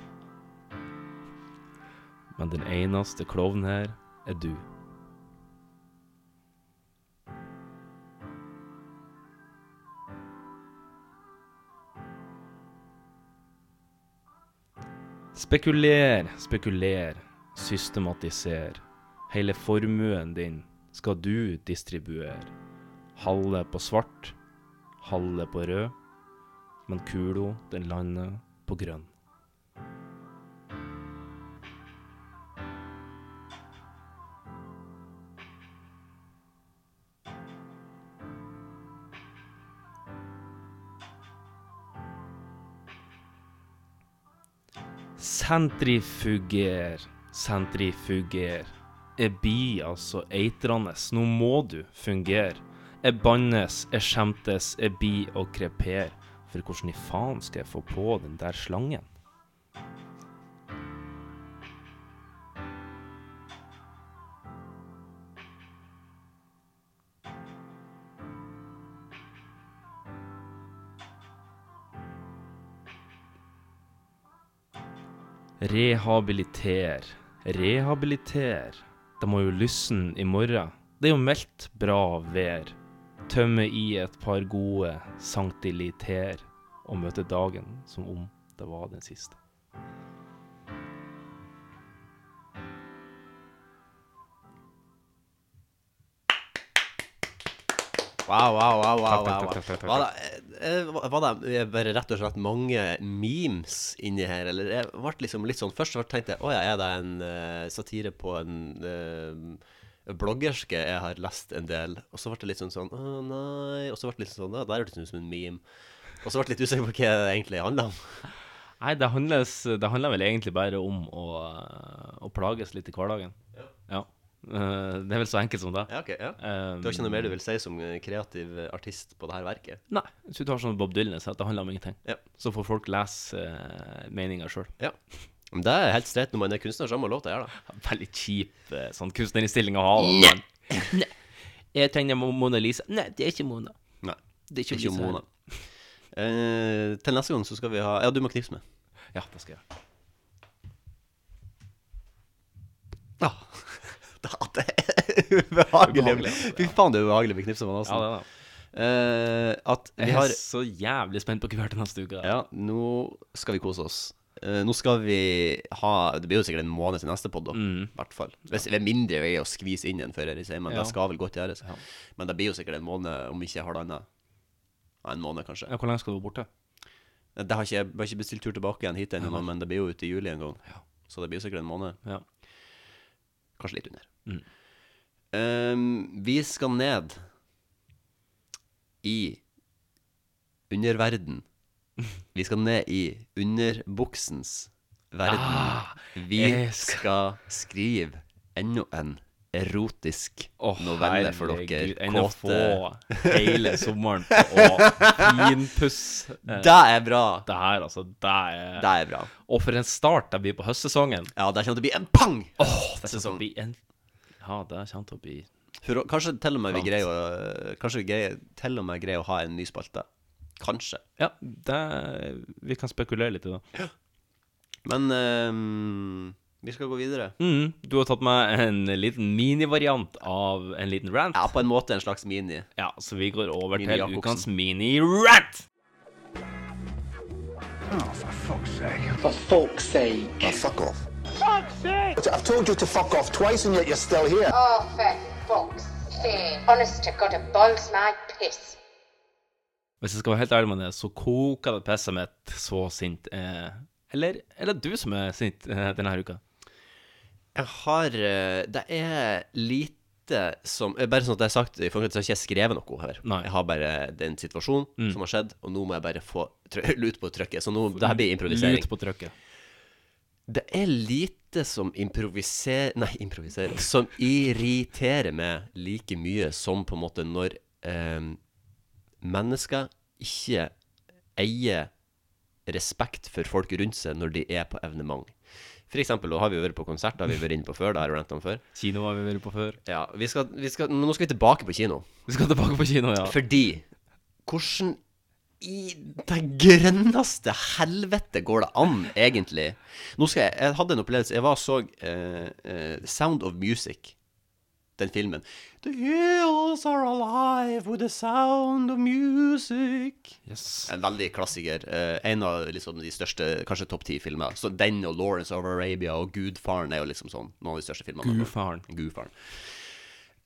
S2: Men den eneste klovnen her er du. Spekuler, spekuler, systematiser. Hele formuen din skal du distribuere. Halve på svart, halve på rød, men kulo, den lander på grønn. Sentrifuger, sentrifuger. Jeg blir altså eitrandes, nå må du fungere. Jeg bannes, jeg skjemtes, jeg blir og kreper. For hvordan i faen skal jeg få på den der slangen? Rehabiliter, rehabiliter. De må jo lysne i morgen. Det er jo meldt bra vær. Tømme i et par gode sanktiliter og møte dagen som om det var den siste.
S3: Wow, wow, wow, wow,
S2: Takk, takk, takk,
S3: wow,
S2: takk, takk,
S3: wow. Var det, eh, var det eh, bare rett og slett mange memes inni her? Eller jeg ble liksom litt sånn Først så tenkte jeg å ja, er det en eh, satire på en eh, bloggerske jeg har lest en del? Og så ble det litt sånn sånn å nei Og så ble det litt sånn «Å, der hørtes det ut som en meme. Og så ble jeg litt usikker på hva det egentlig handla om.
S2: Nei, det handler, det handler vel egentlig bare om å, eh, å plages litt i hverdagen. Ja. Eh, Det er vel så enkelt som det.
S3: Ja, ok, ja.
S2: Eh,
S3: Du har ikke noe mer du vil si som eh, kreativ artist på det her verket?
S2: Nei. Hvis du tar sånn Bob Dylan, så at det handler om ingenting.
S3: Ja.
S2: Så får folk lese uh, meninga sjøl.
S3: Ja. Men det er helt streit når man er kunstner, så har man lov til å gjøre det.
S2: Veldig kjip eh, sånn kunstnerinnstilling å ha.
S3: Nei.
S2: Nei. Jeg tegner Mo- Mona Lisa. Nei, det er ikke Mona.
S3: Nei.
S2: Det er ikke Lisa
S3: Mona. Eh, til neste gang så skal vi ha Ja, du må knipse med.
S2: Ja, det skal jeg gjøre.
S3: Ja. det er ubehagelig.
S2: Ubehagelig, altså,
S3: Fy faen, det er ubehagelig med knipse med Nasen.
S2: Ja, det er det.
S3: Eh, at vi
S2: Jeg
S3: har
S2: er så jævlig spent på hva vi har til neste uke.
S3: Ja, nå skal vi kose oss. Eh, nå skal vi ha Det blir jo sikkert en måned til neste podd, da. I hvert fall. Hvis, Med mindre vi er å skvise inn en før eller senere, men
S2: Mm. Ja.
S3: det skal vel godt gjøres. Men det blir jo sikkert en måned, om ikke halvannen. Ja, en måned, kanskje.
S2: Ja, hvor lenge skal du være borte?
S3: Det har ikke, jeg har ikke bestilt tur tilbake igjen hit ennå, men det blir jo ute i juli en gang. Så det blir jo sikkert en måned. Kanskje litt under.
S2: Mm.
S3: Ehm, vi skal ned i underverden. Vi skal ned i underbuksens verden. vi
S2: Ah, jeg
S3: skal skrive enda en erotisk novelle for dere
S2: herregud, enn å få hele sommeren
S3: på
S2: å finpusse. Eh,
S3: Det er bra.
S2: Det her, altså. Det er,
S3: Det er bra.
S2: Og for en start det blir på høstsesongen.
S3: Ja, det kommer til å bli en pang!
S2: det kommer
S3: sesong.
S2: til å bli en Ja, det kommer til å bli
S3: For, å- kanskje til og med vi
S2: Sant.
S3: greier å Kanskje vi greier, til og med greier å ha en ny spalte. Kanskje.
S2: Ja, det Vi kan spekulere litt i det.
S3: Men ehm, vi skal gå videre.
S2: Mm, du har tatt med en liten minivariant av en liten rant.
S3: Ja, på en måte en slags mini.
S2: Ja, så vi går over
S3: Mini
S2: til
S3: Jacobsen.
S2: ukens mini-rant.
S18: For folk's sake. fuck off. I've told you to fuck off twice and yet you're still here.
S19: Oh, for fuck's sake. Honest to God, it boils my piss.
S2: Hvis jeg skal være helt ærlig med det, så koker det pisset mitt så sint. Eh, eller er det du som er sint eh, denne her uka?
S3: Jeg har eh, Det er lite som eh, Bare sånn at det er sagt, i forhold til så har ikke jeg skrevet noe her. Jeg har bare den situasjonen
S2: Mm.
S3: som har skjedd, og nå må jeg bare få trø- lut på trykket. Så nå, det her blir improvisering.
S2: Lut på trykket.
S3: Det er lite som improviserer Nei, improviserer Som irriterer meg like mye som på en måte når eh, mennesker ikke eier respekt for folk rundt seg når de er på evenement. For eksempel, nå har vi jo vært på konsert, det har vi vært inne på før, det har jeg rant om før.
S2: Kino har vi vært på før.
S3: Ja, vi skal, vi skal, nå skal vi tilbake på kino.
S2: Vi skal tilbake på kino, ja.
S3: Fordi hvordan i det grønneste helvete går det an, egentlig? Nå skal jeg, jeg hadde en opplevelse. Jeg var og så eh, eh, Sound of Music, den filmen. The hills are alive with the sound of music. En veldig klassiker. eh, en av liksom de største, kanskje topp ti filmer. Så den og Lawrence of Arabia og Gudfaren er jo liksom sånn noen av de største filmene.
S2: Gudfaren.
S3: Gudfaren.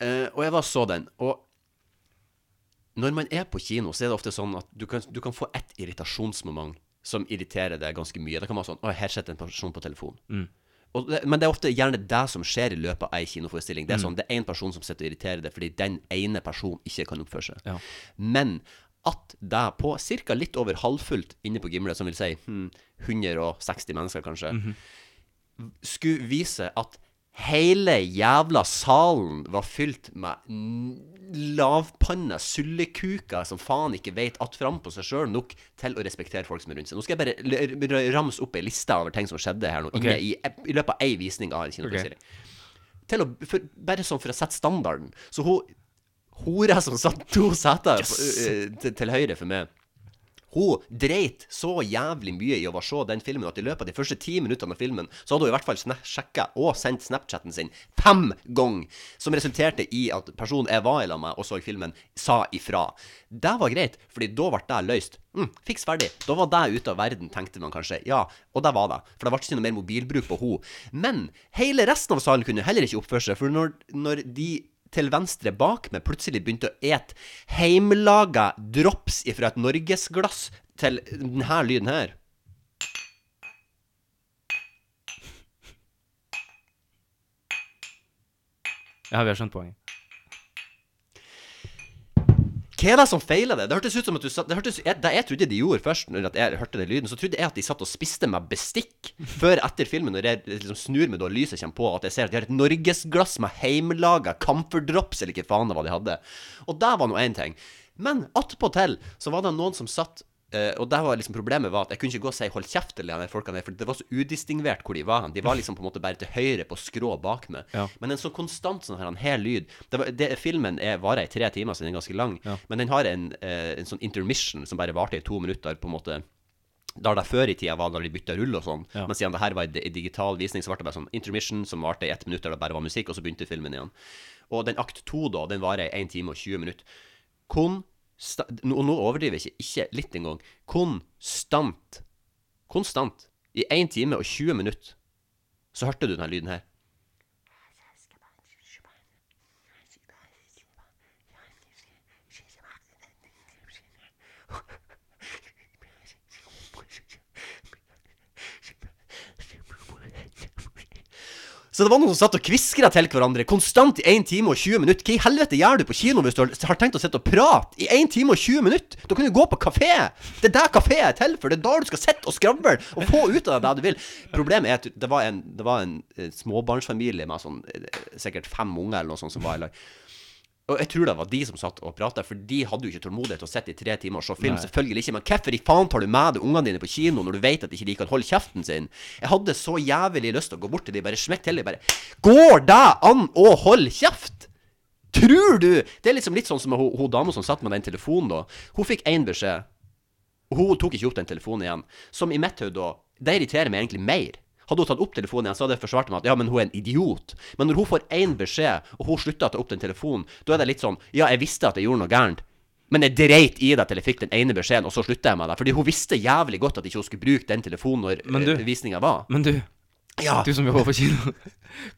S3: Eh, og jeg var og så den, og Når man er på kino, så er det ofte sånn at du kan, du kan få ett irritasjonsmoment som irriterer deg ganske mye. Det kan være sånn Å, her sitter en person på telefon.
S2: Mm.
S3: Og det, men det er ofte gjerne det som skjer i løpet av ei kinoforestilling. Det er
S2: Mm.
S3: sånn, det er én person som sitter og irriterer deg fordi den ene personen ikke kan oppføre seg.
S2: Ja.
S3: Men at det på ca. litt over halvfullt inne på Gimle, som vil si hmm, 160 mennesker kanskje,
S2: Mhm.
S3: skulle vise at hele jævla salen var fylt med n- lavpanna sullekuker som faen ikke vet at fram på seg sjøl nok til å respektere folk som er rundt seg. Nå skal jeg bare l- r- ramse opp ei liste over ting som skjedde her nå,
S2: Ok.
S3: inne i, i løpet av ei visning av en kinoforestilling. Til å, for, bare sånn for å sette standarden. Så hun hora som satt to seter på-
S2: Yes.
S3: eh, til, til høyre for meg hun dreit så jævlig mye i å bare se den filmen at i løpet av de første ti minuttene av filmen så hadde hun i hvert fall sna- sjekka og sendt Snapchatten sin fem ganger, som resulterte i at personen jeg var i lag med og så filmen, sa ifra. Det var greit, fordi da ble det løst. Mm, fiks ferdig. Da var det ute av verden, tenkte man kanskje. Ja, og det var det, for det ble ikke noe mer mobilbruk på hun. Men hele resten av salen kunne heller ikke oppføre seg, for når, når de til venstre bak meg plutselig begynte å et heimlaga drops ifra et norgesglass til denne lyden her.
S2: Ja, vi har skjønt poenget.
S3: Hva er det som feiler det? Det hørtes ut som at du satt Det, hørtes, jeg, det jeg trodde de gjorde først, når at jeg hørte den lyden, så trodde jeg at de satt og spiste med bestikk før etter filmen, når jeg liksom snur meg da lyset kommer på, at jeg ser at de har et norgesglass med heimlaga camphor drops, eller hva faen det var de hadde. Og det var nå én ting. Men attpåtil så var det noen som satt eh, og der var liksom problemet var at jeg kunne ikke gå og si 'hold kjeft' til de her folkene, her, for det var så udistingvert hvor de var hen. De var liksom på en måte bare til høyre på skrå bak meg.
S2: Ja.
S3: Men en sånn konstant sånn her, en hel lyd det var, det, Filmen er, varer i tre timer, så den er ganske lang. Men den har en, eh, en sånn intermission som bare varte i to minutter, på en måte. Der det før i tida var da de bytta rull og sånn,
S2: Ja.
S3: men siden det her var en di- digital visning, så ble det bare sånn intermission som varte i ett minutt, der det bare var musikk, og så begynte filmen igjen. Og den akt to, da, den varer i 1 time og 20 minutter. Konstant Og nå overdriver jeg ikke, ikke litt engang. Konstant. Konstant. I 1 time og 20 minutter så hørte du denne lyden her. Så det var noen som satt og kviskra til hverandre konstant i 1 time og 20 minutter. Hva i helvete gjør du på kino hvis du har- har tenkt å sitte og prate i 1 time og 20 minutter? Da kan du gå på kafé! Det er der kafé er til for. Det er da du skal sitte og skravle og få ut av deg det du vil. Problemet er at det var en, det var en eh, småbarnsfamilie med sånn eh, sikkert fem unger eller noe sånt som var i lag. Og jeg tror det var de som satt og prata, for de hadde jo ikke tålmodighet til å sitte i tre timer og se film.
S2: Nei.
S3: Selvfølgelig ikke. Men hvorfor i faen tar du med deg ungene dine på kino når du vet at ikke de kan holde kjeften sin? Jeg hadde så jævlig lyst til å gå bort til de, bare smekke til de, bare Går det an å holde kjeft? Tror du Det er liksom litt sånn som hun, hun dama som satt med den telefonen, da. Hun fikk én beskjed. Hun tok ikke opp den telefonen igjen. Som i mitt hode, da. Det irriterer meg egentlig mer. Hadde hun tatt opp telefonen igjen, så hadde jeg forsvart meg at ja, men hun er en idiot. Men når hun får én beskjed, og hun slutter å ta opp den telefonen, da er det litt sånn ja, jeg visste at jeg gjorde noe gærent. Men jeg dreit i det til jeg fikk den ene beskjeden, og så slutta jeg med det. Fordi hun visste jævlig godt at ikke hun skulle bruke den telefonen
S2: Men
S3: når
S2: du-
S3: eh, visninga var.
S2: Men du,
S3: Ja.
S2: du som jobber på kino,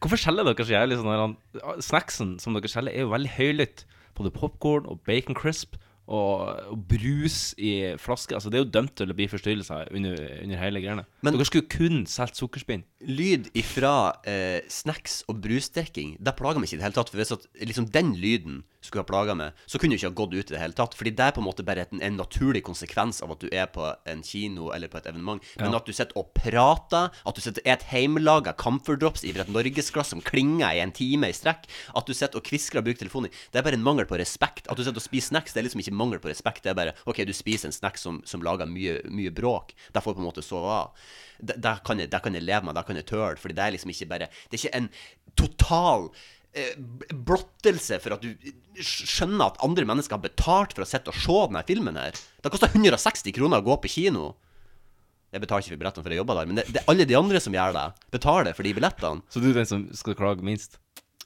S2: hvorfor skjeller dere så jævlig sånn her han- Snacksen som dere skjeller, er jo veldig høylytt. Både popkorn og bacon crisp og, og brus i flaske. Altså, det er jo dømt til å bli forstyrrelser under, under hele greiene.
S3: Men-
S2: dere skulle kun solgt sukkerspinn.
S3: Lyd ifra eh, snacks og brusdrikking, det plager meg ikke i det hele tatt. For hvis at liksom den lyden skulle ha plaga meg, så kunne det ikke ha gått ut i det hele tatt. Fordi det er på en måte bare et, en naturlig konsekvens av at du er på en kino eller på et evenement. Men
S2: Ja.
S3: at du sitter og prater, at du sitter og et heimelaga camphor drops ifra et norgesglass som klinger i en time i strekk, at du sitter og kviskrer og bruker telefonen din, det er bare en mangel på respekt. At du sitter og spiser snacks, det er liksom ikke mangel på respekt. Det er bare OK, du spiser en snack som, som lager mye, mye bråk. Det får på en måte sove av det, det, kan jeg, det kan jeg leve med, det kan jeg tøle, fordi det er liksom ikke bare Det er ikke en total eh, b- blottelse for at du eh, sk- skjønner at andre mennesker har betalt for å sitte og se denne filmen her. Det koster 160 kroner å gå på kino. Jeg betaler ikke for billettene, for jeg jobber der, men det, det er alle de andre som gjør det, betaler for de billettene.
S2: Så du er den som skal klage minst?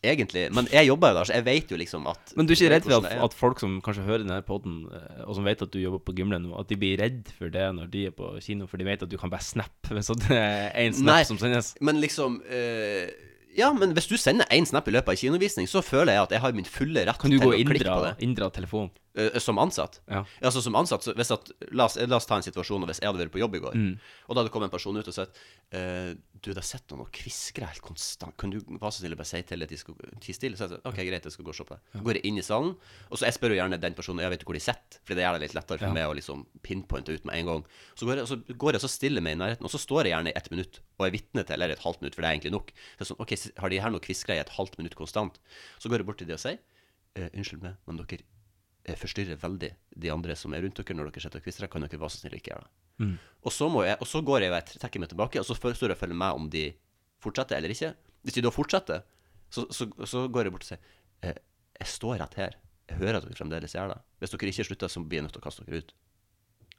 S3: Egentlig. Men jeg jobber jo der, så jeg vet jo liksom at
S2: Men du er ikke redd for
S3: hvordan
S2: at,
S3: det er.
S2: at folk som kanskje hører denne poden, og som vet at du jobber på Gimle nå, at de blir redd for det når de er på kino, for de vet at du kan bare snappe hvis det er én snap
S3: Nei,
S2: som sendes?
S3: Men liksom eh, Ja, men hvis du sender én snap i løpet av en kinovisning, så føler jeg at jeg har min fulle rett
S2: Kan du
S3: til
S2: gå
S3: å klikke
S2: indre
S3: på det.
S2: indre telefon?
S3: Eh, Som ansatt? Altså som ansatt, så hvis at, la, oss, la oss ta en situasjon og hvis jeg hadde vært på jobb i går,
S2: Mm.
S3: og da hadde kommet en person ut og sagt eh, Du, det sitter noen og kviskrer helt konstant. Kan du være så snill å bare si til at de skal tie stille? Så jeg sa OK, greit, jeg skal gå og se på det.
S2: Ja.
S3: Går jeg inn i salen, og så jeg spør jo gjerne den personen Jeg vet jo hvor de sitter, for det gjør det litt lettere for
S2: Ja.
S3: meg å liksom pinpointe ut med en gang. Så går jeg, så går jeg så stiller meg i nærheten, og så står jeg gjerne i ett minutt og er vitne til, eller et halvt minutt, for det er egentlig nok. Så jeg er sånn, OK, s- har de her noe kviskra i et halvt minutt konstant? Så går jeg bort til de og sier eh, Unnskyld meg, men dere eh, forstyrrer veldig de andre som er rundt dere når dere sitter og kvistrer. Kan dere være så snill å ikke gjøre det?
S2: Mm.
S3: Og så, må jeg, og så går jeg og jeg trekker meg tilbake, og så fø- står jeg og følger med om de fortsetter eller ikke. Hvis de da fortsetter, så, så, så går jeg bort og sier eh, Jeg står rett her. Jeg hører at dere fremdeles gjør det. Hvis dere ikke slutter, så blir jeg nødt til å kaste dere ut.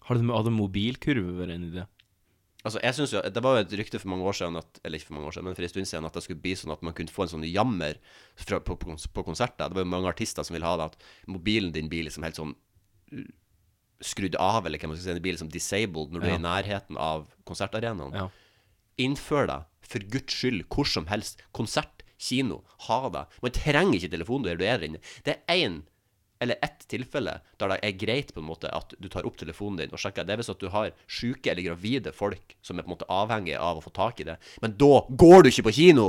S2: Har du hadde mobilkurve vært en idé?
S3: Altså, jeg synes jo, Det var jo et rykte for mange år siden, at, eller ikke for mange år siden, men for en stund siden, at det skulle bli sånn at man kunne få en sånn jammer fra, på, på, kons- på konserter. Det var jo mange artister som ville ha det, at mobilen din blir liksom helt sånn uh, skrudd av, eller hva man skal si, den blir liksom disabled når du
S2: Ja.
S3: er i nærheten av konsertarenaen. Innfør det, for guds skyld, hvor som helst. Konsert, kino, ha det. Man trenger ikke telefon der du er inne. Det er én eller ett tilfelle der det er greit på en måte at du tar opp telefonen din og sjekker. Det er hvis at du har syke eller gravide folk som er på en måte avhengige av å få tak i det. Men da går du ikke på kino!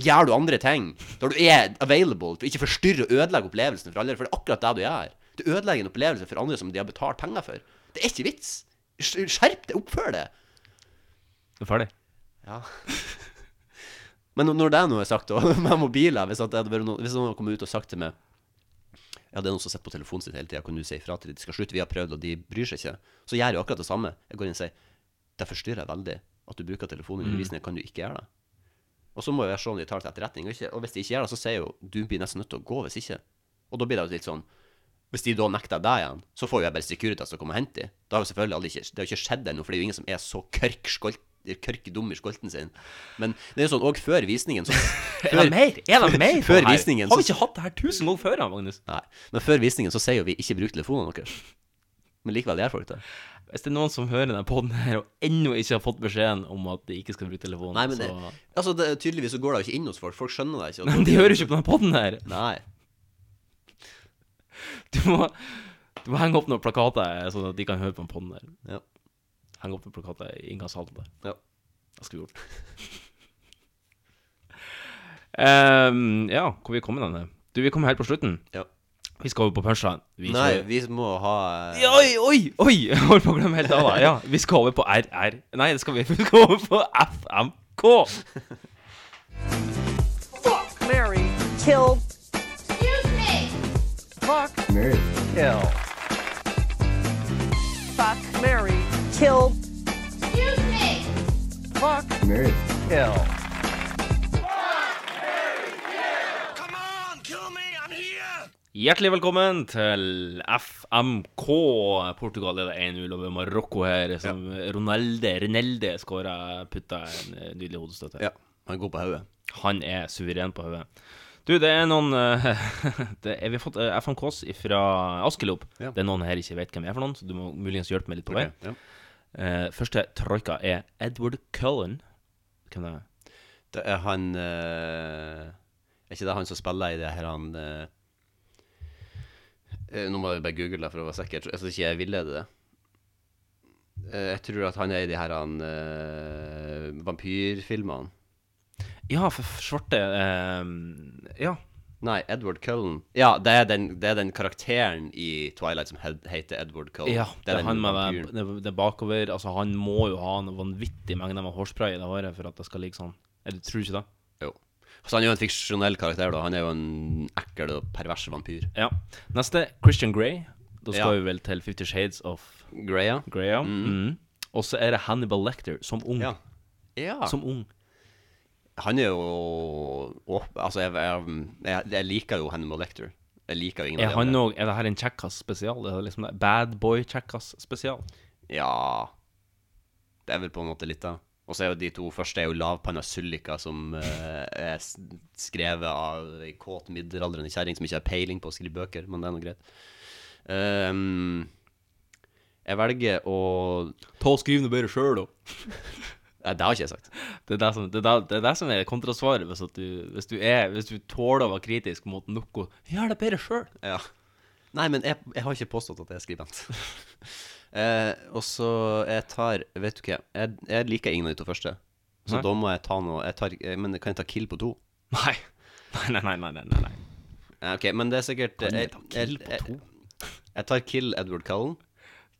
S3: Gjør du andre ting der du er available, for ikke forstyrre og ødelegge opplevelsen for alle. For det er akkurat det du gjør. Du ødelegger en opplevelse for andre som de har betalt penger for. Det er ikke vits. Skjerp deg, oppfør deg.
S2: Du er ferdig?
S3: Ja. Men når det er noe jeg har sagt også, med mobiler Hvis, at det hadde vært noen, hvis noen hadde kommet ut og sagt til meg Ja, det er noen som sitter på telefonen sin hele tida, kan du si ifra til dem? De skal slutte, vi har prøvd, og de bryr seg ikke. Så gjør jeg jo akkurat det samme. Jeg går inn og sier Det forstyrrer veldig at du bruker telefonen i
S2: Mm.
S3: undervisningen, kan du ikke gjøre det? Og så må jeg se om de tar det til etterretning. Og, ikke, og hvis de ikke gjør det, så sier jeg jo du blir nesten nødt til å gå hvis ikke. Og da blir det jo litt sånn Hvis de da nekter deg igjen, så får jo jeg bare Securitas til å komme og hente dem. Det har jo selvfølgelig aldri ikke, det har jo ikke skjedd ennå, for det er jo ingen som er så kørk skolt kørk dum i skolten sin. Men det er jo sånn òg før visningen så,
S2: Er det mer? Er det mer på
S3: Før
S2: her?
S3: visningen
S2: Har vi ikke hatt det her tusen ganger før, da, Magnus?
S3: Nei. Men før visningen så sier jo vi 'ikke bruk telefonene deres'. Men likevel gjør folk det.
S2: Hvis det er noen som hører denne podden her og ennå ikke har fått beskjeden om at de ikke skal bruke telefonen,
S3: Nei, men det,
S2: så
S3: altså, det, tydeligvis så går det jo ikke inn hos folk. Folk skjønner det ikke.
S2: Nei, men de hører ikke på denne podden her.
S3: Nei.
S2: Du må, du må henge opp noen plakater, sånn at de kan høre på den podden der.
S3: Ja.
S2: Henge opp noen plakater i inngangshallen der.
S3: Ja.
S2: Det skulle vi gjort. Ehm, ja, hvor vi kom med denne? Du, vi kom helt på slutten.
S3: Ja.
S2: Vi skal over på punchline. Vi
S3: Nei,
S2: kjører-
S3: vi må ha eh,
S2: Ja, Oi, oi, oi! Jeg holdt på å glemme helt av det. Ja, vi skal over på RR. Nei, det skal vi. vi skal over på FMK.
S17: Fuck, Mary, kill.
S19: Excuse me.
S17: Fuck, Mary, kill. Fuck, Mary, kill.
S19: Excuse me.
S17: Fuck, Mary, kill.
S2: Hjertelig velkommen til FMK. Portugal leder 1-0 over Marokko her, som Ronalde Renelde skåra putta en eh, nydelig hodestøtte.
S3: Ja, han er god på hodet.
S2: Han er suveren på hodet. Du, det er noen eh, det er, Vi har fått eh, FMKs fra Askelop.
S3: Ja.
S2: Det er noen her ikke vet hvem er for noen, så du må muligens hjelpe meg litt på vei.
S3: Ok, ja.
S2: Eh, første troika er Edward Cullen. Hvem det er?
S3: Det er han eh, Er ikke det han som spiller i det her han eh, eh, Nå må jeg bare google det for å være sikker. Jeg tror ikke jeg villeder det. Eh, jeg tror at han er i de her han eh, vampyrfilmene.
S2: Ja, for f- svarte eh, Ja.
S3: Nei, Edward Cullen. Ja, det er den, det er den karakteren i Twilight som he heter Edward Cullen.
S2: Ja, det er
S3: den
S2: han med det,
S3: vampyren.
S2: det, det bakover Altså, han må jo ha en vanvittig mengde med hårspray i det håret for at det skal ligge sånn. Eller tror du ikke det?
S3: Jo. Så han er jo en fiksjonell karakter, da. Han er jo en ekkel og pervers vampyr.
S2: Ja. Neste, Christian Grey. Da skal
S3: Ja.
S2: vi vel til Fifty Shades of
S3: Grey, ja.
S2: Mm. Og så er det Hannibal Lecter som ung.
S3: Ja. Ah. Ja.
S2: Som ung.
S3: Han er jo åp- Altså, jeg, jeg, jeg, jeg liker jo Hannibal Lecter. Jeg liker jo ingen
S2: Er
S3: av de
S2: han
S3: andre.
S2: òg Er det her en Checkass spesial? Er det liksom det? Bad Boy Checkass spesial?
S3: Ja Det er vel på en måte litt, da. Og så er jo de to første er jo lavpanna sulliker som eh, er s- skrevet av ei kåt middelaldrende kjerring som ikke har peiling på å skrive bøker, men det er nå greit. Ehm, jeg velger å
S2: Ta og skriv noe bedre sjøl, da.
S3: Nei, det har ikke jeg sagt.
S2: Det er det som, det er det, det, er det som er kontrasvaret. Hvis, at du, hvis, du er- hvis du tåler å være kritisk mot noe, gjør det bedre sjøl.
S3: Ja. Nei, men jeg, jeg har ikke påstått at jeg er skribent. eh, og så jeg tar Vet du hva, jeg, jeg liker ingen av de to første. Så
S2: Nei.
S3: da må jeg ta noe jeg tar, eh, Men kan jeg ta kill på to? Nei. Nei, nei, nei, nei, nei. Ok, men det er sikkert
S2: Kan jeg
S3: jeg,
S2: ta
S3: jeg,
S2: kill på
S3: jeg, jeg tar kill Edward Cullen.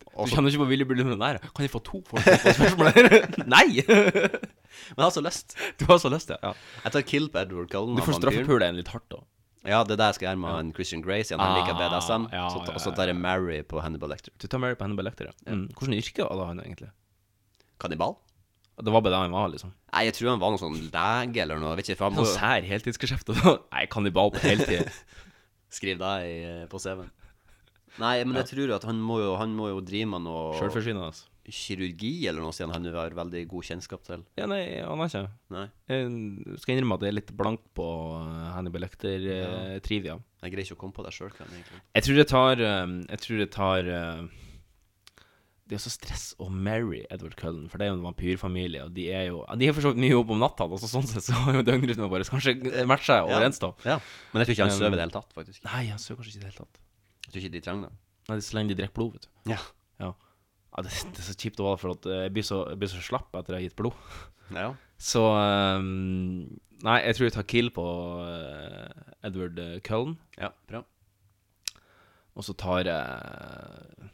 S2: Du kjenner ikke på Willy Bully Millionær? Kan jeg få to folk
S3: på spørsmålet?
S2: Nei!
S3: Men jeg har så lyst. Du har så lyst, ja. Jeg tar kill på Edward Cullen.
S2: Du får straffepule en litt hardt, da.
S3: Ja, det er det jeg skal gjøre med han Christian Grey, siden han liker
S2: Ah,
S3: BDSM.
S2: ja,
S3: så, ta-
S2: ja,
S3: og så
S2: ja,
S3: tar jeg Mary på Hannibal Lecter.
S2: Du tar Mary på Hannibal Lecter, ja. Mm. Hvordan yrke hadde han egentlig?
S3: Kannibal?
S2: Det var bare det han var, liksom.
S3: Nei, jeg tror han var noen sånn lege eller noe. Vet ikke, for han
S2: Sånn sær heltidsgeskjeft. og sånn. Nei, kannibal på heltid.
S3: Skriv det i- eh, på CV-en. Nei, men jeg tror at han må jo, han må jo drive med noe
S2: Selvforsynende, altså.
S3: Kirurgi eller noe, siden han har veldig god kjennskap til.
S2: Ja, nei, jeg aner ikke.
S3: Nei.
S2: Jeg skal innrømme at jeg er litt blank på eh, Hannibal eh,
S3: Ja.
S2: Lecter-trivia.
S3: Jeg greier ikke å komme på det sjøl, kan jeg egentlig.
S2: Jeg tror jeg tar um, Jeg tror jeg tar um, Det er så stress å marry Edward Cullen, for det er jo en vampyrfamilie, og de er jo De har for så vidt mye jobb om natta, altså sånn sett så har jo døgnrytmen vår kanskje matcha overens, da.
S3: Ja. Men jeg tror ikke han
S2: Um,
S3: sover i det hele tatt, faktisk.
S2: Nei, han sover kanskje ikke i det hele tatt.
S3: Jeg tror ikke de trenger det.
S2: Nei, Så lenge de drikker blod, vet du.
S3: Ja.
S2: ja. Ja, det, det er så kjipt å være for at eh, jeg blir så, jeg blir så slapp etter jeg har gitt blod.
S3: Ja.
S2: Så um, Nei, jeg tror jeg tar kill på eh, Edward eh, Cullen.
S3: Ja, bra.
S2: Og så tar jeg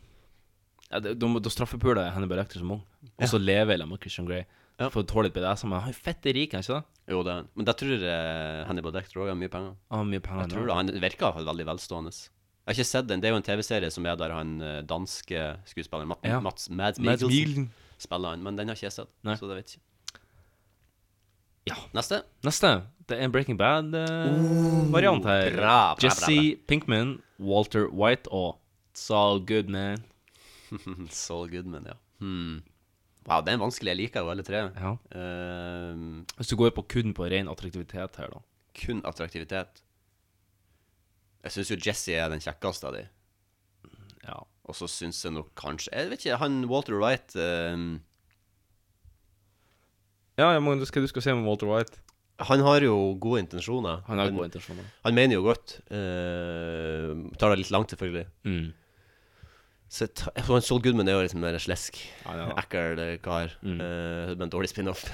S2: ja, det- Da må- da straffepuler jeg Hannibal Lecter som ung. Og så lever jeg sammen med Christian Grey. For å tåle litt BDS. Men han er jo fette rik, er han ikke det?
S3: Jo, det er han. Men det tror jeg eh, Hannibal Lecter òg har mye penger.
S2: Han har mye penger.
S3: Jeg tror det. Han virker veldig velstående. Jeg har ikke sett den. Det er jo en TV-serie som er der han eh, danske skuespilleren Mat
S2: Ja.
S3: Mats Mads
S2: Mads
S3: Mikkelsen
S2: Mikkelsen.
S3: spiller han, men den har ikke jeg sett, så det vet jeg ikke. Neste.
S2: Neste. Det er en Breaking Bad-variant her.
S3: bra, bra, bra, bra.
S2: Eh, Jesse Pinkman, Walter White og Saul Goodman.
S3: Saul Goodman, ja. Hmm. Wow, det er en vanskelig. Jeg liker jo alle tre.
S2: Ja.
S3: Ehm,
S2: Hvis du går på kun på ren attraktivitet her, da.
S3: kun attraktivitet. Jeg syns jo Jesse er den kjekkeste av de.
S2: Ja.
S3: Og så syns jeg nok kanskje Jeg vet ikke, han Walter Wright ehm,
S2: Ja, jeg må, du skal, du skal se med Walter White.
S3: Han har jo gode intensjoner.
S2: Han har gode intensjoner.
S3: Han mener jo godt. Eh, tar det litt langt, selvfølgelig.
S2: Mm.
S3: Så jeg tar- jeg tror han Sol Goodman er jo liksom mer slesk.
S2: ja, ja.
S3: Ekkel eh, kar. eh, men dårlig spin-off.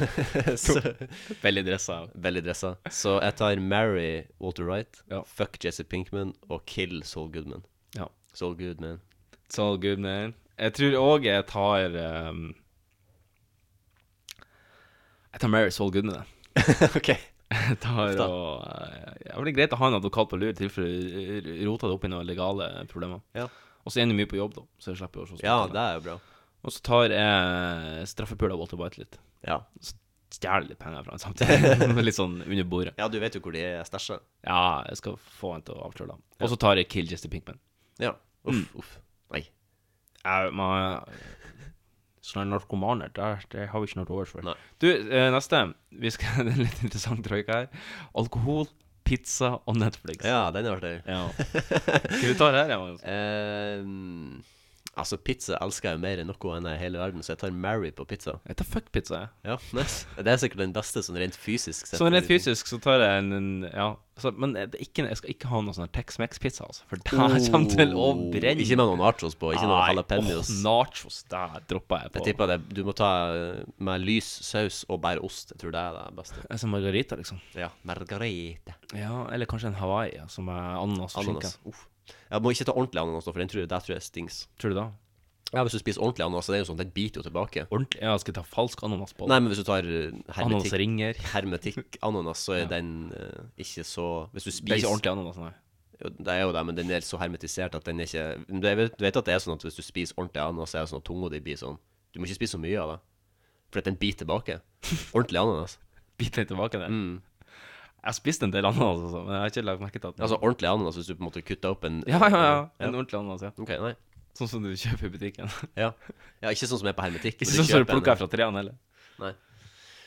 S3: Så-
S2: Veldig dressa.
S3: Veldig dressa. Så jeg tar Marry Walter Wright, fuck Jesse Pinkman og kill Sol Goodman.
S2: Ja.
S3: Sol Goodman.
S2: It's all good, man. Jeg tror òg jeg tar ehm, Jeg tar Mary Saul Goodman, jeg.
S3: ok.
S2: Jeg tar
S3: Ofte.
S2: og eh, ja, men Det er greit å ha en advokat på lur i tilfelle du roter det opp i noen legale problemer.
S3: Ja.
S2: Og så er han jo mye på jobb, da, så jeg slipper å se så
S3: Ja,
S2: mye til
S3: det er jo bra.
S2: Og så tar jeg straffepula Walter White litt.
S3: Ja.
S2: Så stjeler litt penger fra han samtidig. litt sånn under bordet.
S3: Ja, du vet jo hvor de er stæsja.
S2: Ja, jeg skal få han til å avsløre det. Og så tar jeg Kill Jesse Pinkman.
S3: Ja. Uff,
S2: Mm.
S3: uff. Nei.
S2: Jeg, man, sånne narkomaner, der, det har vi ikke noe til overs for.
S3: Nei.
S2: Du, eh, neste. Vi skal, det er en litt interessant troika her. Alkohol, pizza og Netflix.
S3: Ja, den er artig.
S2: Ja. Skal vi ta det her, ja, Magnus?
S3: Ehm, altså, pizza elsker jeg jo mer enn noe enn i hele verden, så jeg tar Mary på pizza.
S2: Jeg tar fuck pizza, jeg.
S3: Ja, nice. Det er sikkert den beste sånn rent fysisk sett.
S2: Sånn rent fysisk så tar jeg en, en ja. Så, men det er ikke, jeg skal ikke ha noe sånn her Tex-Mex-pizza, altså. For det her kommer til å
S3: Oh,
S2: brenne.
S3: Ikke med noen nachos på, ikke noen
S2: Nei,
S3: jalapeños.
S2: åh, nachos, der dropper jeg på.
S3: Jeg tipper det. Du må ta eh, med lys saus og bare ost. Jeg tror det er det beste.
S2: Jeg som margarita, liksom.
S3: Ja, margarita.
S2: Ja, eller kanskje en Hawaii, ja, som er ananas og skinke.
S3: Ananas. Uff. Jeg må ikke ta ordentlig ananas, da, for den tror jeg, der tror jeg stings.
S2: Tror du da?
S3: Ja, Hvis du spiser ordentlig ananas, så det er jo sånn, den biter jo tilbake.
S2: Ordentlig? Ja, skal jeg ta falsk ananas på?
S3: Nei, men hvis du tar eh, hermetikk,
S2: Ananasringer.
S3: hermetikk ananas, så er den eh, ikke så Hvis du
S2: Det er
S3: spiser
S2: ikke ordentlig ananas, nei.
S3: Jo, Det er jo det, men den er så hermetisert at den er ikke Men Du vet, du vet at det er sånn at hvis du spiser ordentlig ananas, så er det sånn at tunga di blir sånn Du må ikke spise så mye av det, for at den biter tilbake. Ordentlig ananas.
S2: Bit litt tilbake
S3: Mm.
S2: der. Jeg har spist en del ananas, altså, men jeg har ikke lagt merke til at
S3: Altså ordentlig ananas hvis du på en måte kutter opp en
S2: Ja, ja, ja. En ordentlig ananas, ja.
S3: Ok, nei.
S2: Sånn som du kjøper i butikken.
S3: Ja. ja ikke sånn som er på hermetikk.
S2: Ikke
S3: men
S2: sånn som du
S3: kjøper en-
S2: plukker fra trærne heller.
S3: Nei.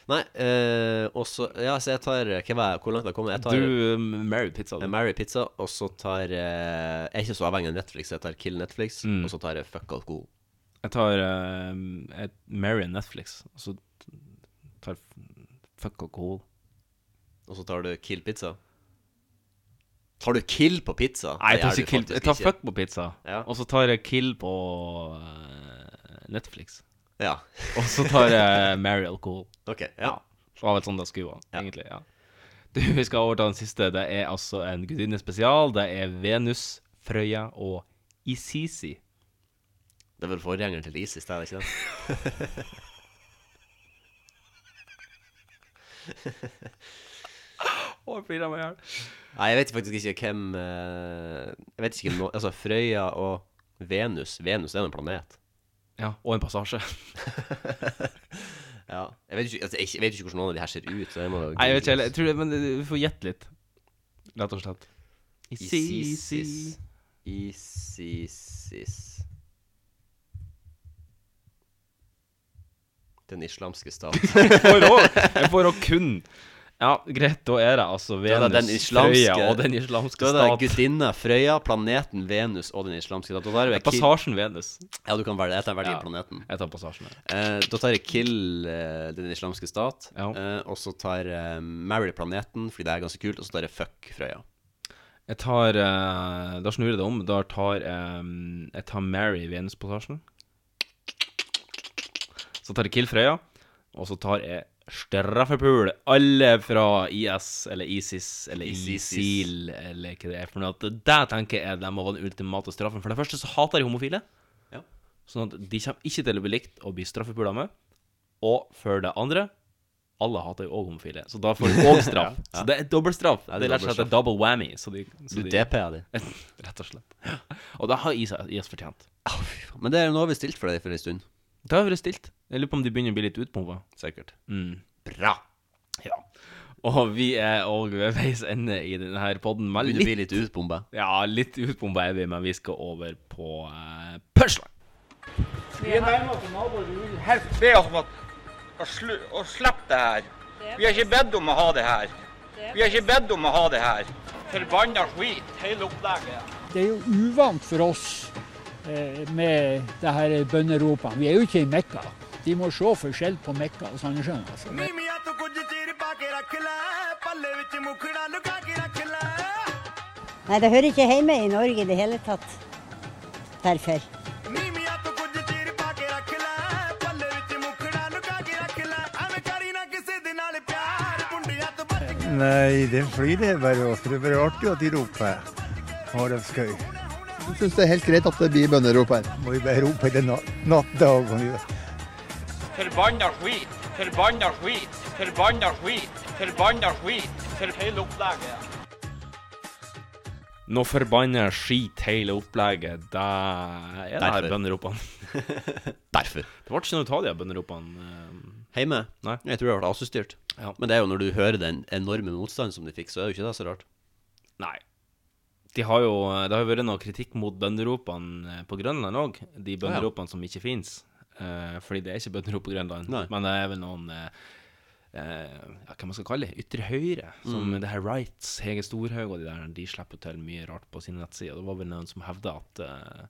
S3: Nei, eh, og så Ja, så jeg tar hva var jeg- Hvor langt jeg kom? Jeg tar Mm.
S2: Du um, Mary Pizza.
S3: Jeg Mary Pizza, og så tar eh, Jeg er ikke så avhengig av Netflix. Jeg tar Kill Netflix,
S2: Mm.
S3: og så tar jeg Fuck Alcohol.
S2: Jeg tar eh, et Mary and Netflix, og så tar f- fuck alkohol.
S3: Og så tar du Kill Pizza. Tar du kill på pizza?
S2: Nei, jeg
S3: Det gjør
S2: tar,
S3: du
S2: ikke kill, jeg
S3: faktisk
S2: tar
S3: ikke.
S2: fuck på pizza, og så tar jeg kill på eh, Netflix.
S3: Ja.
S2: og så tar jeg uh, Mary Alcohol.
S3: Ok, ja.
S2: Så Av et sånt skua, egentlig. ja. Du, Vi skal overta den siste. Det er altså en gudinnespesial. Det er Venus, Frøya og Isisi.
S3: Det er vel forgjengeren til Isis, det er det ikke det?
S2: Å, jeg flirer meg i hjel.
S3: Nei, jeg vet faktisk ikke hvem eh, Jeg vet ikke nå Altså, Frøya og Venus Venus er jo en planet.
S2: Ja, og en passasje.
S3: ja. Jeg vet, ikke, altså, jeg, jeg vet ikke hvordan noen av de her ser ut. Så jeg må
S2: Nei, jeg vet ikke heller. Jeg tror det- Men du får gjette litt, rett og slett.
S3: Isisis. Isisis Den islamske stat.
S2: For å, for å kun Ja, greit, da er det altså
S3: Da er
S2: Venus,
S3: det den islamske,
S2: Frøya og den islamske
S3: Da er
S2: stat.
S3: det gudinna Frøya, planeten Venus og den islamske stat. Og da er det
S2: Ja, passasjen Venus.
S3: Ja, du kan velge. Jeg tar velge
S2: Ja,
S3: planeten.
S2: Jeg tar passasjen. ja.
S3: Eh, da tar jeg Kill eh, den islamske stat, eh, og så tar jeg Marry planeten, fordi det er ganske kult, og så tar jeg Fuck Frøya.
S2: Jeg tar eh, Da snur jeg det om. Da tar eh, jeg tar Mary Venuspassasjen. Så tar jeg Kill Frøya, og så tar jeg Straffepool. Alle fra IS eller ISIS eller
S3: ISIS.
S2: ISIL eller hva det er for noe. At Det tenker jeg de må være den ultimate straffen. For det første så hater de homofile.
S3: Ja.
S2: Sånn at de kommer ikke til å bli likt og bli straffepula med. Og for det andre alle hater jo òg homofile, så da får de òg straff.
S3: Ja, ja.
S2: Så det er dobbel straff.
S3: Ja,
S2: Det er rett og slett en
S3: dobbeltstraff.
S2: double whammy. Så de, så
S3: Du DP-er de.
S2: Rett og slett. Og det har IS, IS fortjent.
S3: Men det er jo noe vi har stilt for deg for en stund.
S2: Det har vært stilt. Jeg lurer på om de begynner å bli litt utpumpa.
S3: Sikkert.
S2: Mm.
S3: Bra.
S2: Ja. Og vi er òg ved veis ende i denne poden.
S3: Begynner å bli litt utbomba.
S2: Ja, litt utbomba er vi, men vi skal over på eh, punchline.
S20: Vi er nærmere til naboer. Vi vil helst be oss om at, å, slu, å slippe det her. Vi har ikke bedt om å ha det her. Vi har ikke bedt om å ha det her. Forbanna skit, hele opplegget.
S21: Det er jo uvant for oss eh, med det her bønneropene. Vi er jo ikke i Mekka. De må se forskjell på Mekka og Sandnessjøen. Altså.
S22: Nei, det hører ikke hjemme i Norge i det hele tatt. Derfor.
S23: Nei, den flyr det bare oss. Det er bare artig at de roper. Har de skøy.
S24: Jeg syns det er helt greit at det blir bønnerop her.
S23: Må vi bare rope hele natt, natt dag. må vi gjøre.
S20: Forbanna skit, forbanna skit, forbanna skit, forbanna skit. For hele opplegget.
S2: Nå forbanner skit hele opplegget. Det er det her
S3: Derfor.
S2: bønneropene.
S3: Derfor.
S2: Det ble ikke noe ut av de her bønneropene. eh,
S3: Hjemme? Nei. Jeg tror jeg ble ASU-styrt. Men det er jo når du hører den enorme motstanden som de fikk, så er det jo ikke det så rart.
S2: Nei. De har jo, det har jo vært noe kritikk mot bønderopene på Grønland òg. De bønderopene som ikke fins. fordi det er ikke bønderop på Grønland. Men det er vel noen eh, eh, ja, Hva man skal kalle det? Ytre høyre. Som
S3: Mm.
S2: det her Rights, Hege Storhaug og de der. De slipper til mye rart på sine nettsider. Det var vel noen som hevda at eh,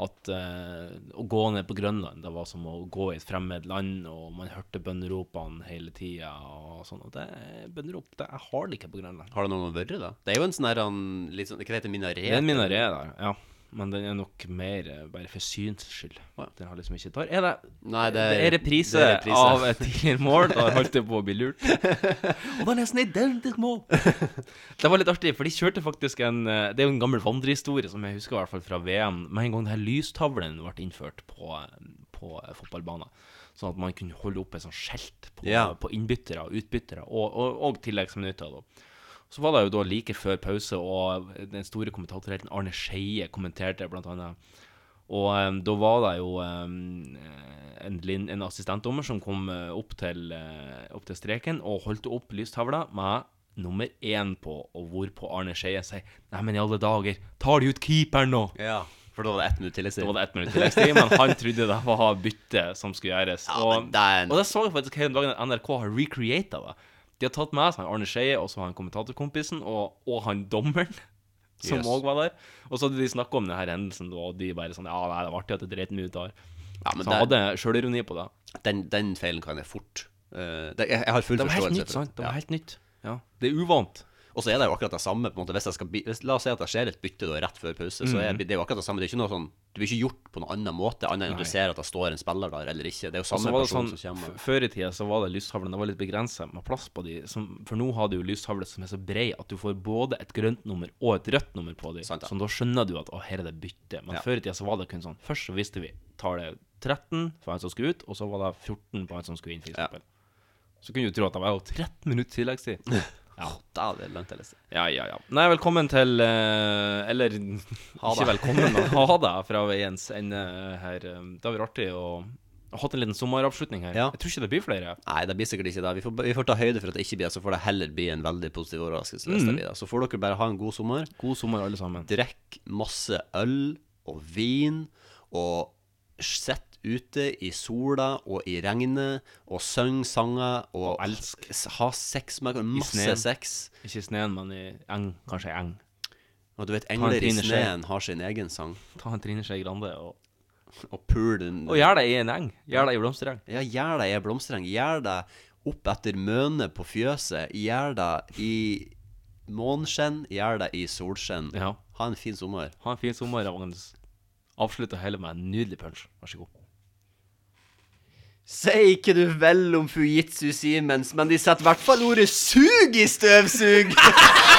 S2: at eh, å gå ned på Grønland det var som å gå i et fremmed land, og man hørte bønderopene hele tida. Og sånn, og det bønderop det jeg har det ikke på Grønland.
S3: Har det noen vært, da? Det er jo en sånn her han, litt sånn, Hva heter det, minaret?
S2: Det er en minaré der, ja. Men den er nok mer eh, bare for syns skyld. Den har liksom ikke tar. Er det,
S3: Nei, det
S2: det
S3: er-
S2: er reprise
S3: det er reprise.
S2: av et tidligere mål. Da har holdt det på å bli lurt. Og det er
S3: sånn
S2: nesten identisk mål! Det var litt artig, for de kjørte faktisk en eh, Det er jo en gammel vandrehistorie som jeg husker i hvert fall fra VM. Med en gang den her lystavlen ble innført på, eh, på fotballbanen, sånn at man kunne holde opp et sånt skjelt på,
S3: Ja.
S2: på innbyttere og utbyttere, og, og, og tilleggsminutter. da. Så var det jo da like før pause, og den store kommentatorhelten Arne Skeie kommenterte blant annet. Og eh, da var det jo eh, en, lin- en assistentdommer som kom eh, opp, til, eh, opp til streken og holdt opp lystavla med nummer én på, og hvorpå Arne Skeie sier Nei, men i alle dager, tar de ut keeperen nå?
S3: Ja, for da var det ett minutt tilleggstid.
S2: Da var det ett minutt tilleggstid, men han trodde det var bytte som skulle gjøres. og, det og det så jeg faktisk hele dagen at NRK har recreata det. De har tatt med seg Arne Skeie og så han kommentatorkompisen og, og han dommeren. Som
S3: Yes.
S2: òg var der. Og så hadde de snakka om denne hendelsen, og de bare sånn Ja, nei, det var artig at det dreit meg ut der. så han
S3: men det-
S2: hadde sjølironi på det.
S3: Den, den feilen kan jeg fort eh, det, jeg, jeg har full
S2: Det var helt
S3: forståelse
S2: nytt, sant? Det var helt nytt.
S3: Ja.
S2: Det er uvant.
S3: Og så er det jo akkurat det samme. på en måte, hvis jeg skal, bi- hvis, La oss si at det skjer et bytte da, rett før pause. så er
S2: Mhm.
S3: det jo akkurat det samme. Det er ikke noe sånn, det blir ikke gjort på noen annen måte, annet enn at
S2: Nei.
S3: du ser at det står en spiller der eller ikke. Det er
S2: Og
S3: jo
S2: så
S3: samme
S2: var det
S3: person
S2: sånn,
S3: som kommer.
S2: f- Før i tida så var det lyshavlen, det var litt begrensa med plass på de. Som, for nå har du jo lyshavle som er så brei at du får både et grønt nummer og et rødt nummer på de.
S3: Sant det.
S2: Så da skjønner du at å, her er det bytte. Men
S3: Ja.
S2: før i tida så var det kun sånn. Først så visste vi tallet 13 for han som skulle ut, og så var det 14 på han som skulle inn, for eksempel. Så kunne du tro at det var jo 13 minutter tilleggstid. Ja.
S3: Da er det langt ellers.
S2: Ja, ja, ja. Nei, velkommen til eh, Eller ikke
S3: det.
S2: velkommen, men ha det fra veiens ende her. Eh, Det har vært artig å ha hatt en liten sommeravslutning her. Jeg tror ikke det blir flere.
S3: Nei, det blir sikkert ikke det. Vi får, vi får ta høyde for at det ikke blir det, så får det heller bli en veldig positiv overraskelse. hvis det
S2: Mhm.
S3: blir det. Så får dere bare ha en god sommer.
S2: God sommer, alle sammen.
S3: Drekk masse øl og vin, og sitt ute i sola og i regnet, og syng sanger, og, ha sex med hverandre. Masse
S2: sneen.
S3: sex.
S2: Ikke i sneen, men i eng. Kanskje i eng.
S3: Og du vet,
S2: Ta en
S3: engler i
S2: Trine Skei.
S3: sneen har sin egen sang.
S2: Ta en Trine Skei Grande og
S3: Og pul den
S2: Og gjør det i en eng. Gjør det i blomstereng.
S3: Ja, gjør det i en blomstereng. Gjør det opp etter møne på fjøset. Gjør det i måneskinn. Gjør det i solskinn. Ha en fin sommer.
S2: Ha en fin sommer, Agnes. Avslutt og hele med en nydelig punch. Vær så god.
S3: Sier ikke du vel om Fujitsu Siemens, men de setter i hvert fall ordet 'sug' i støvsug!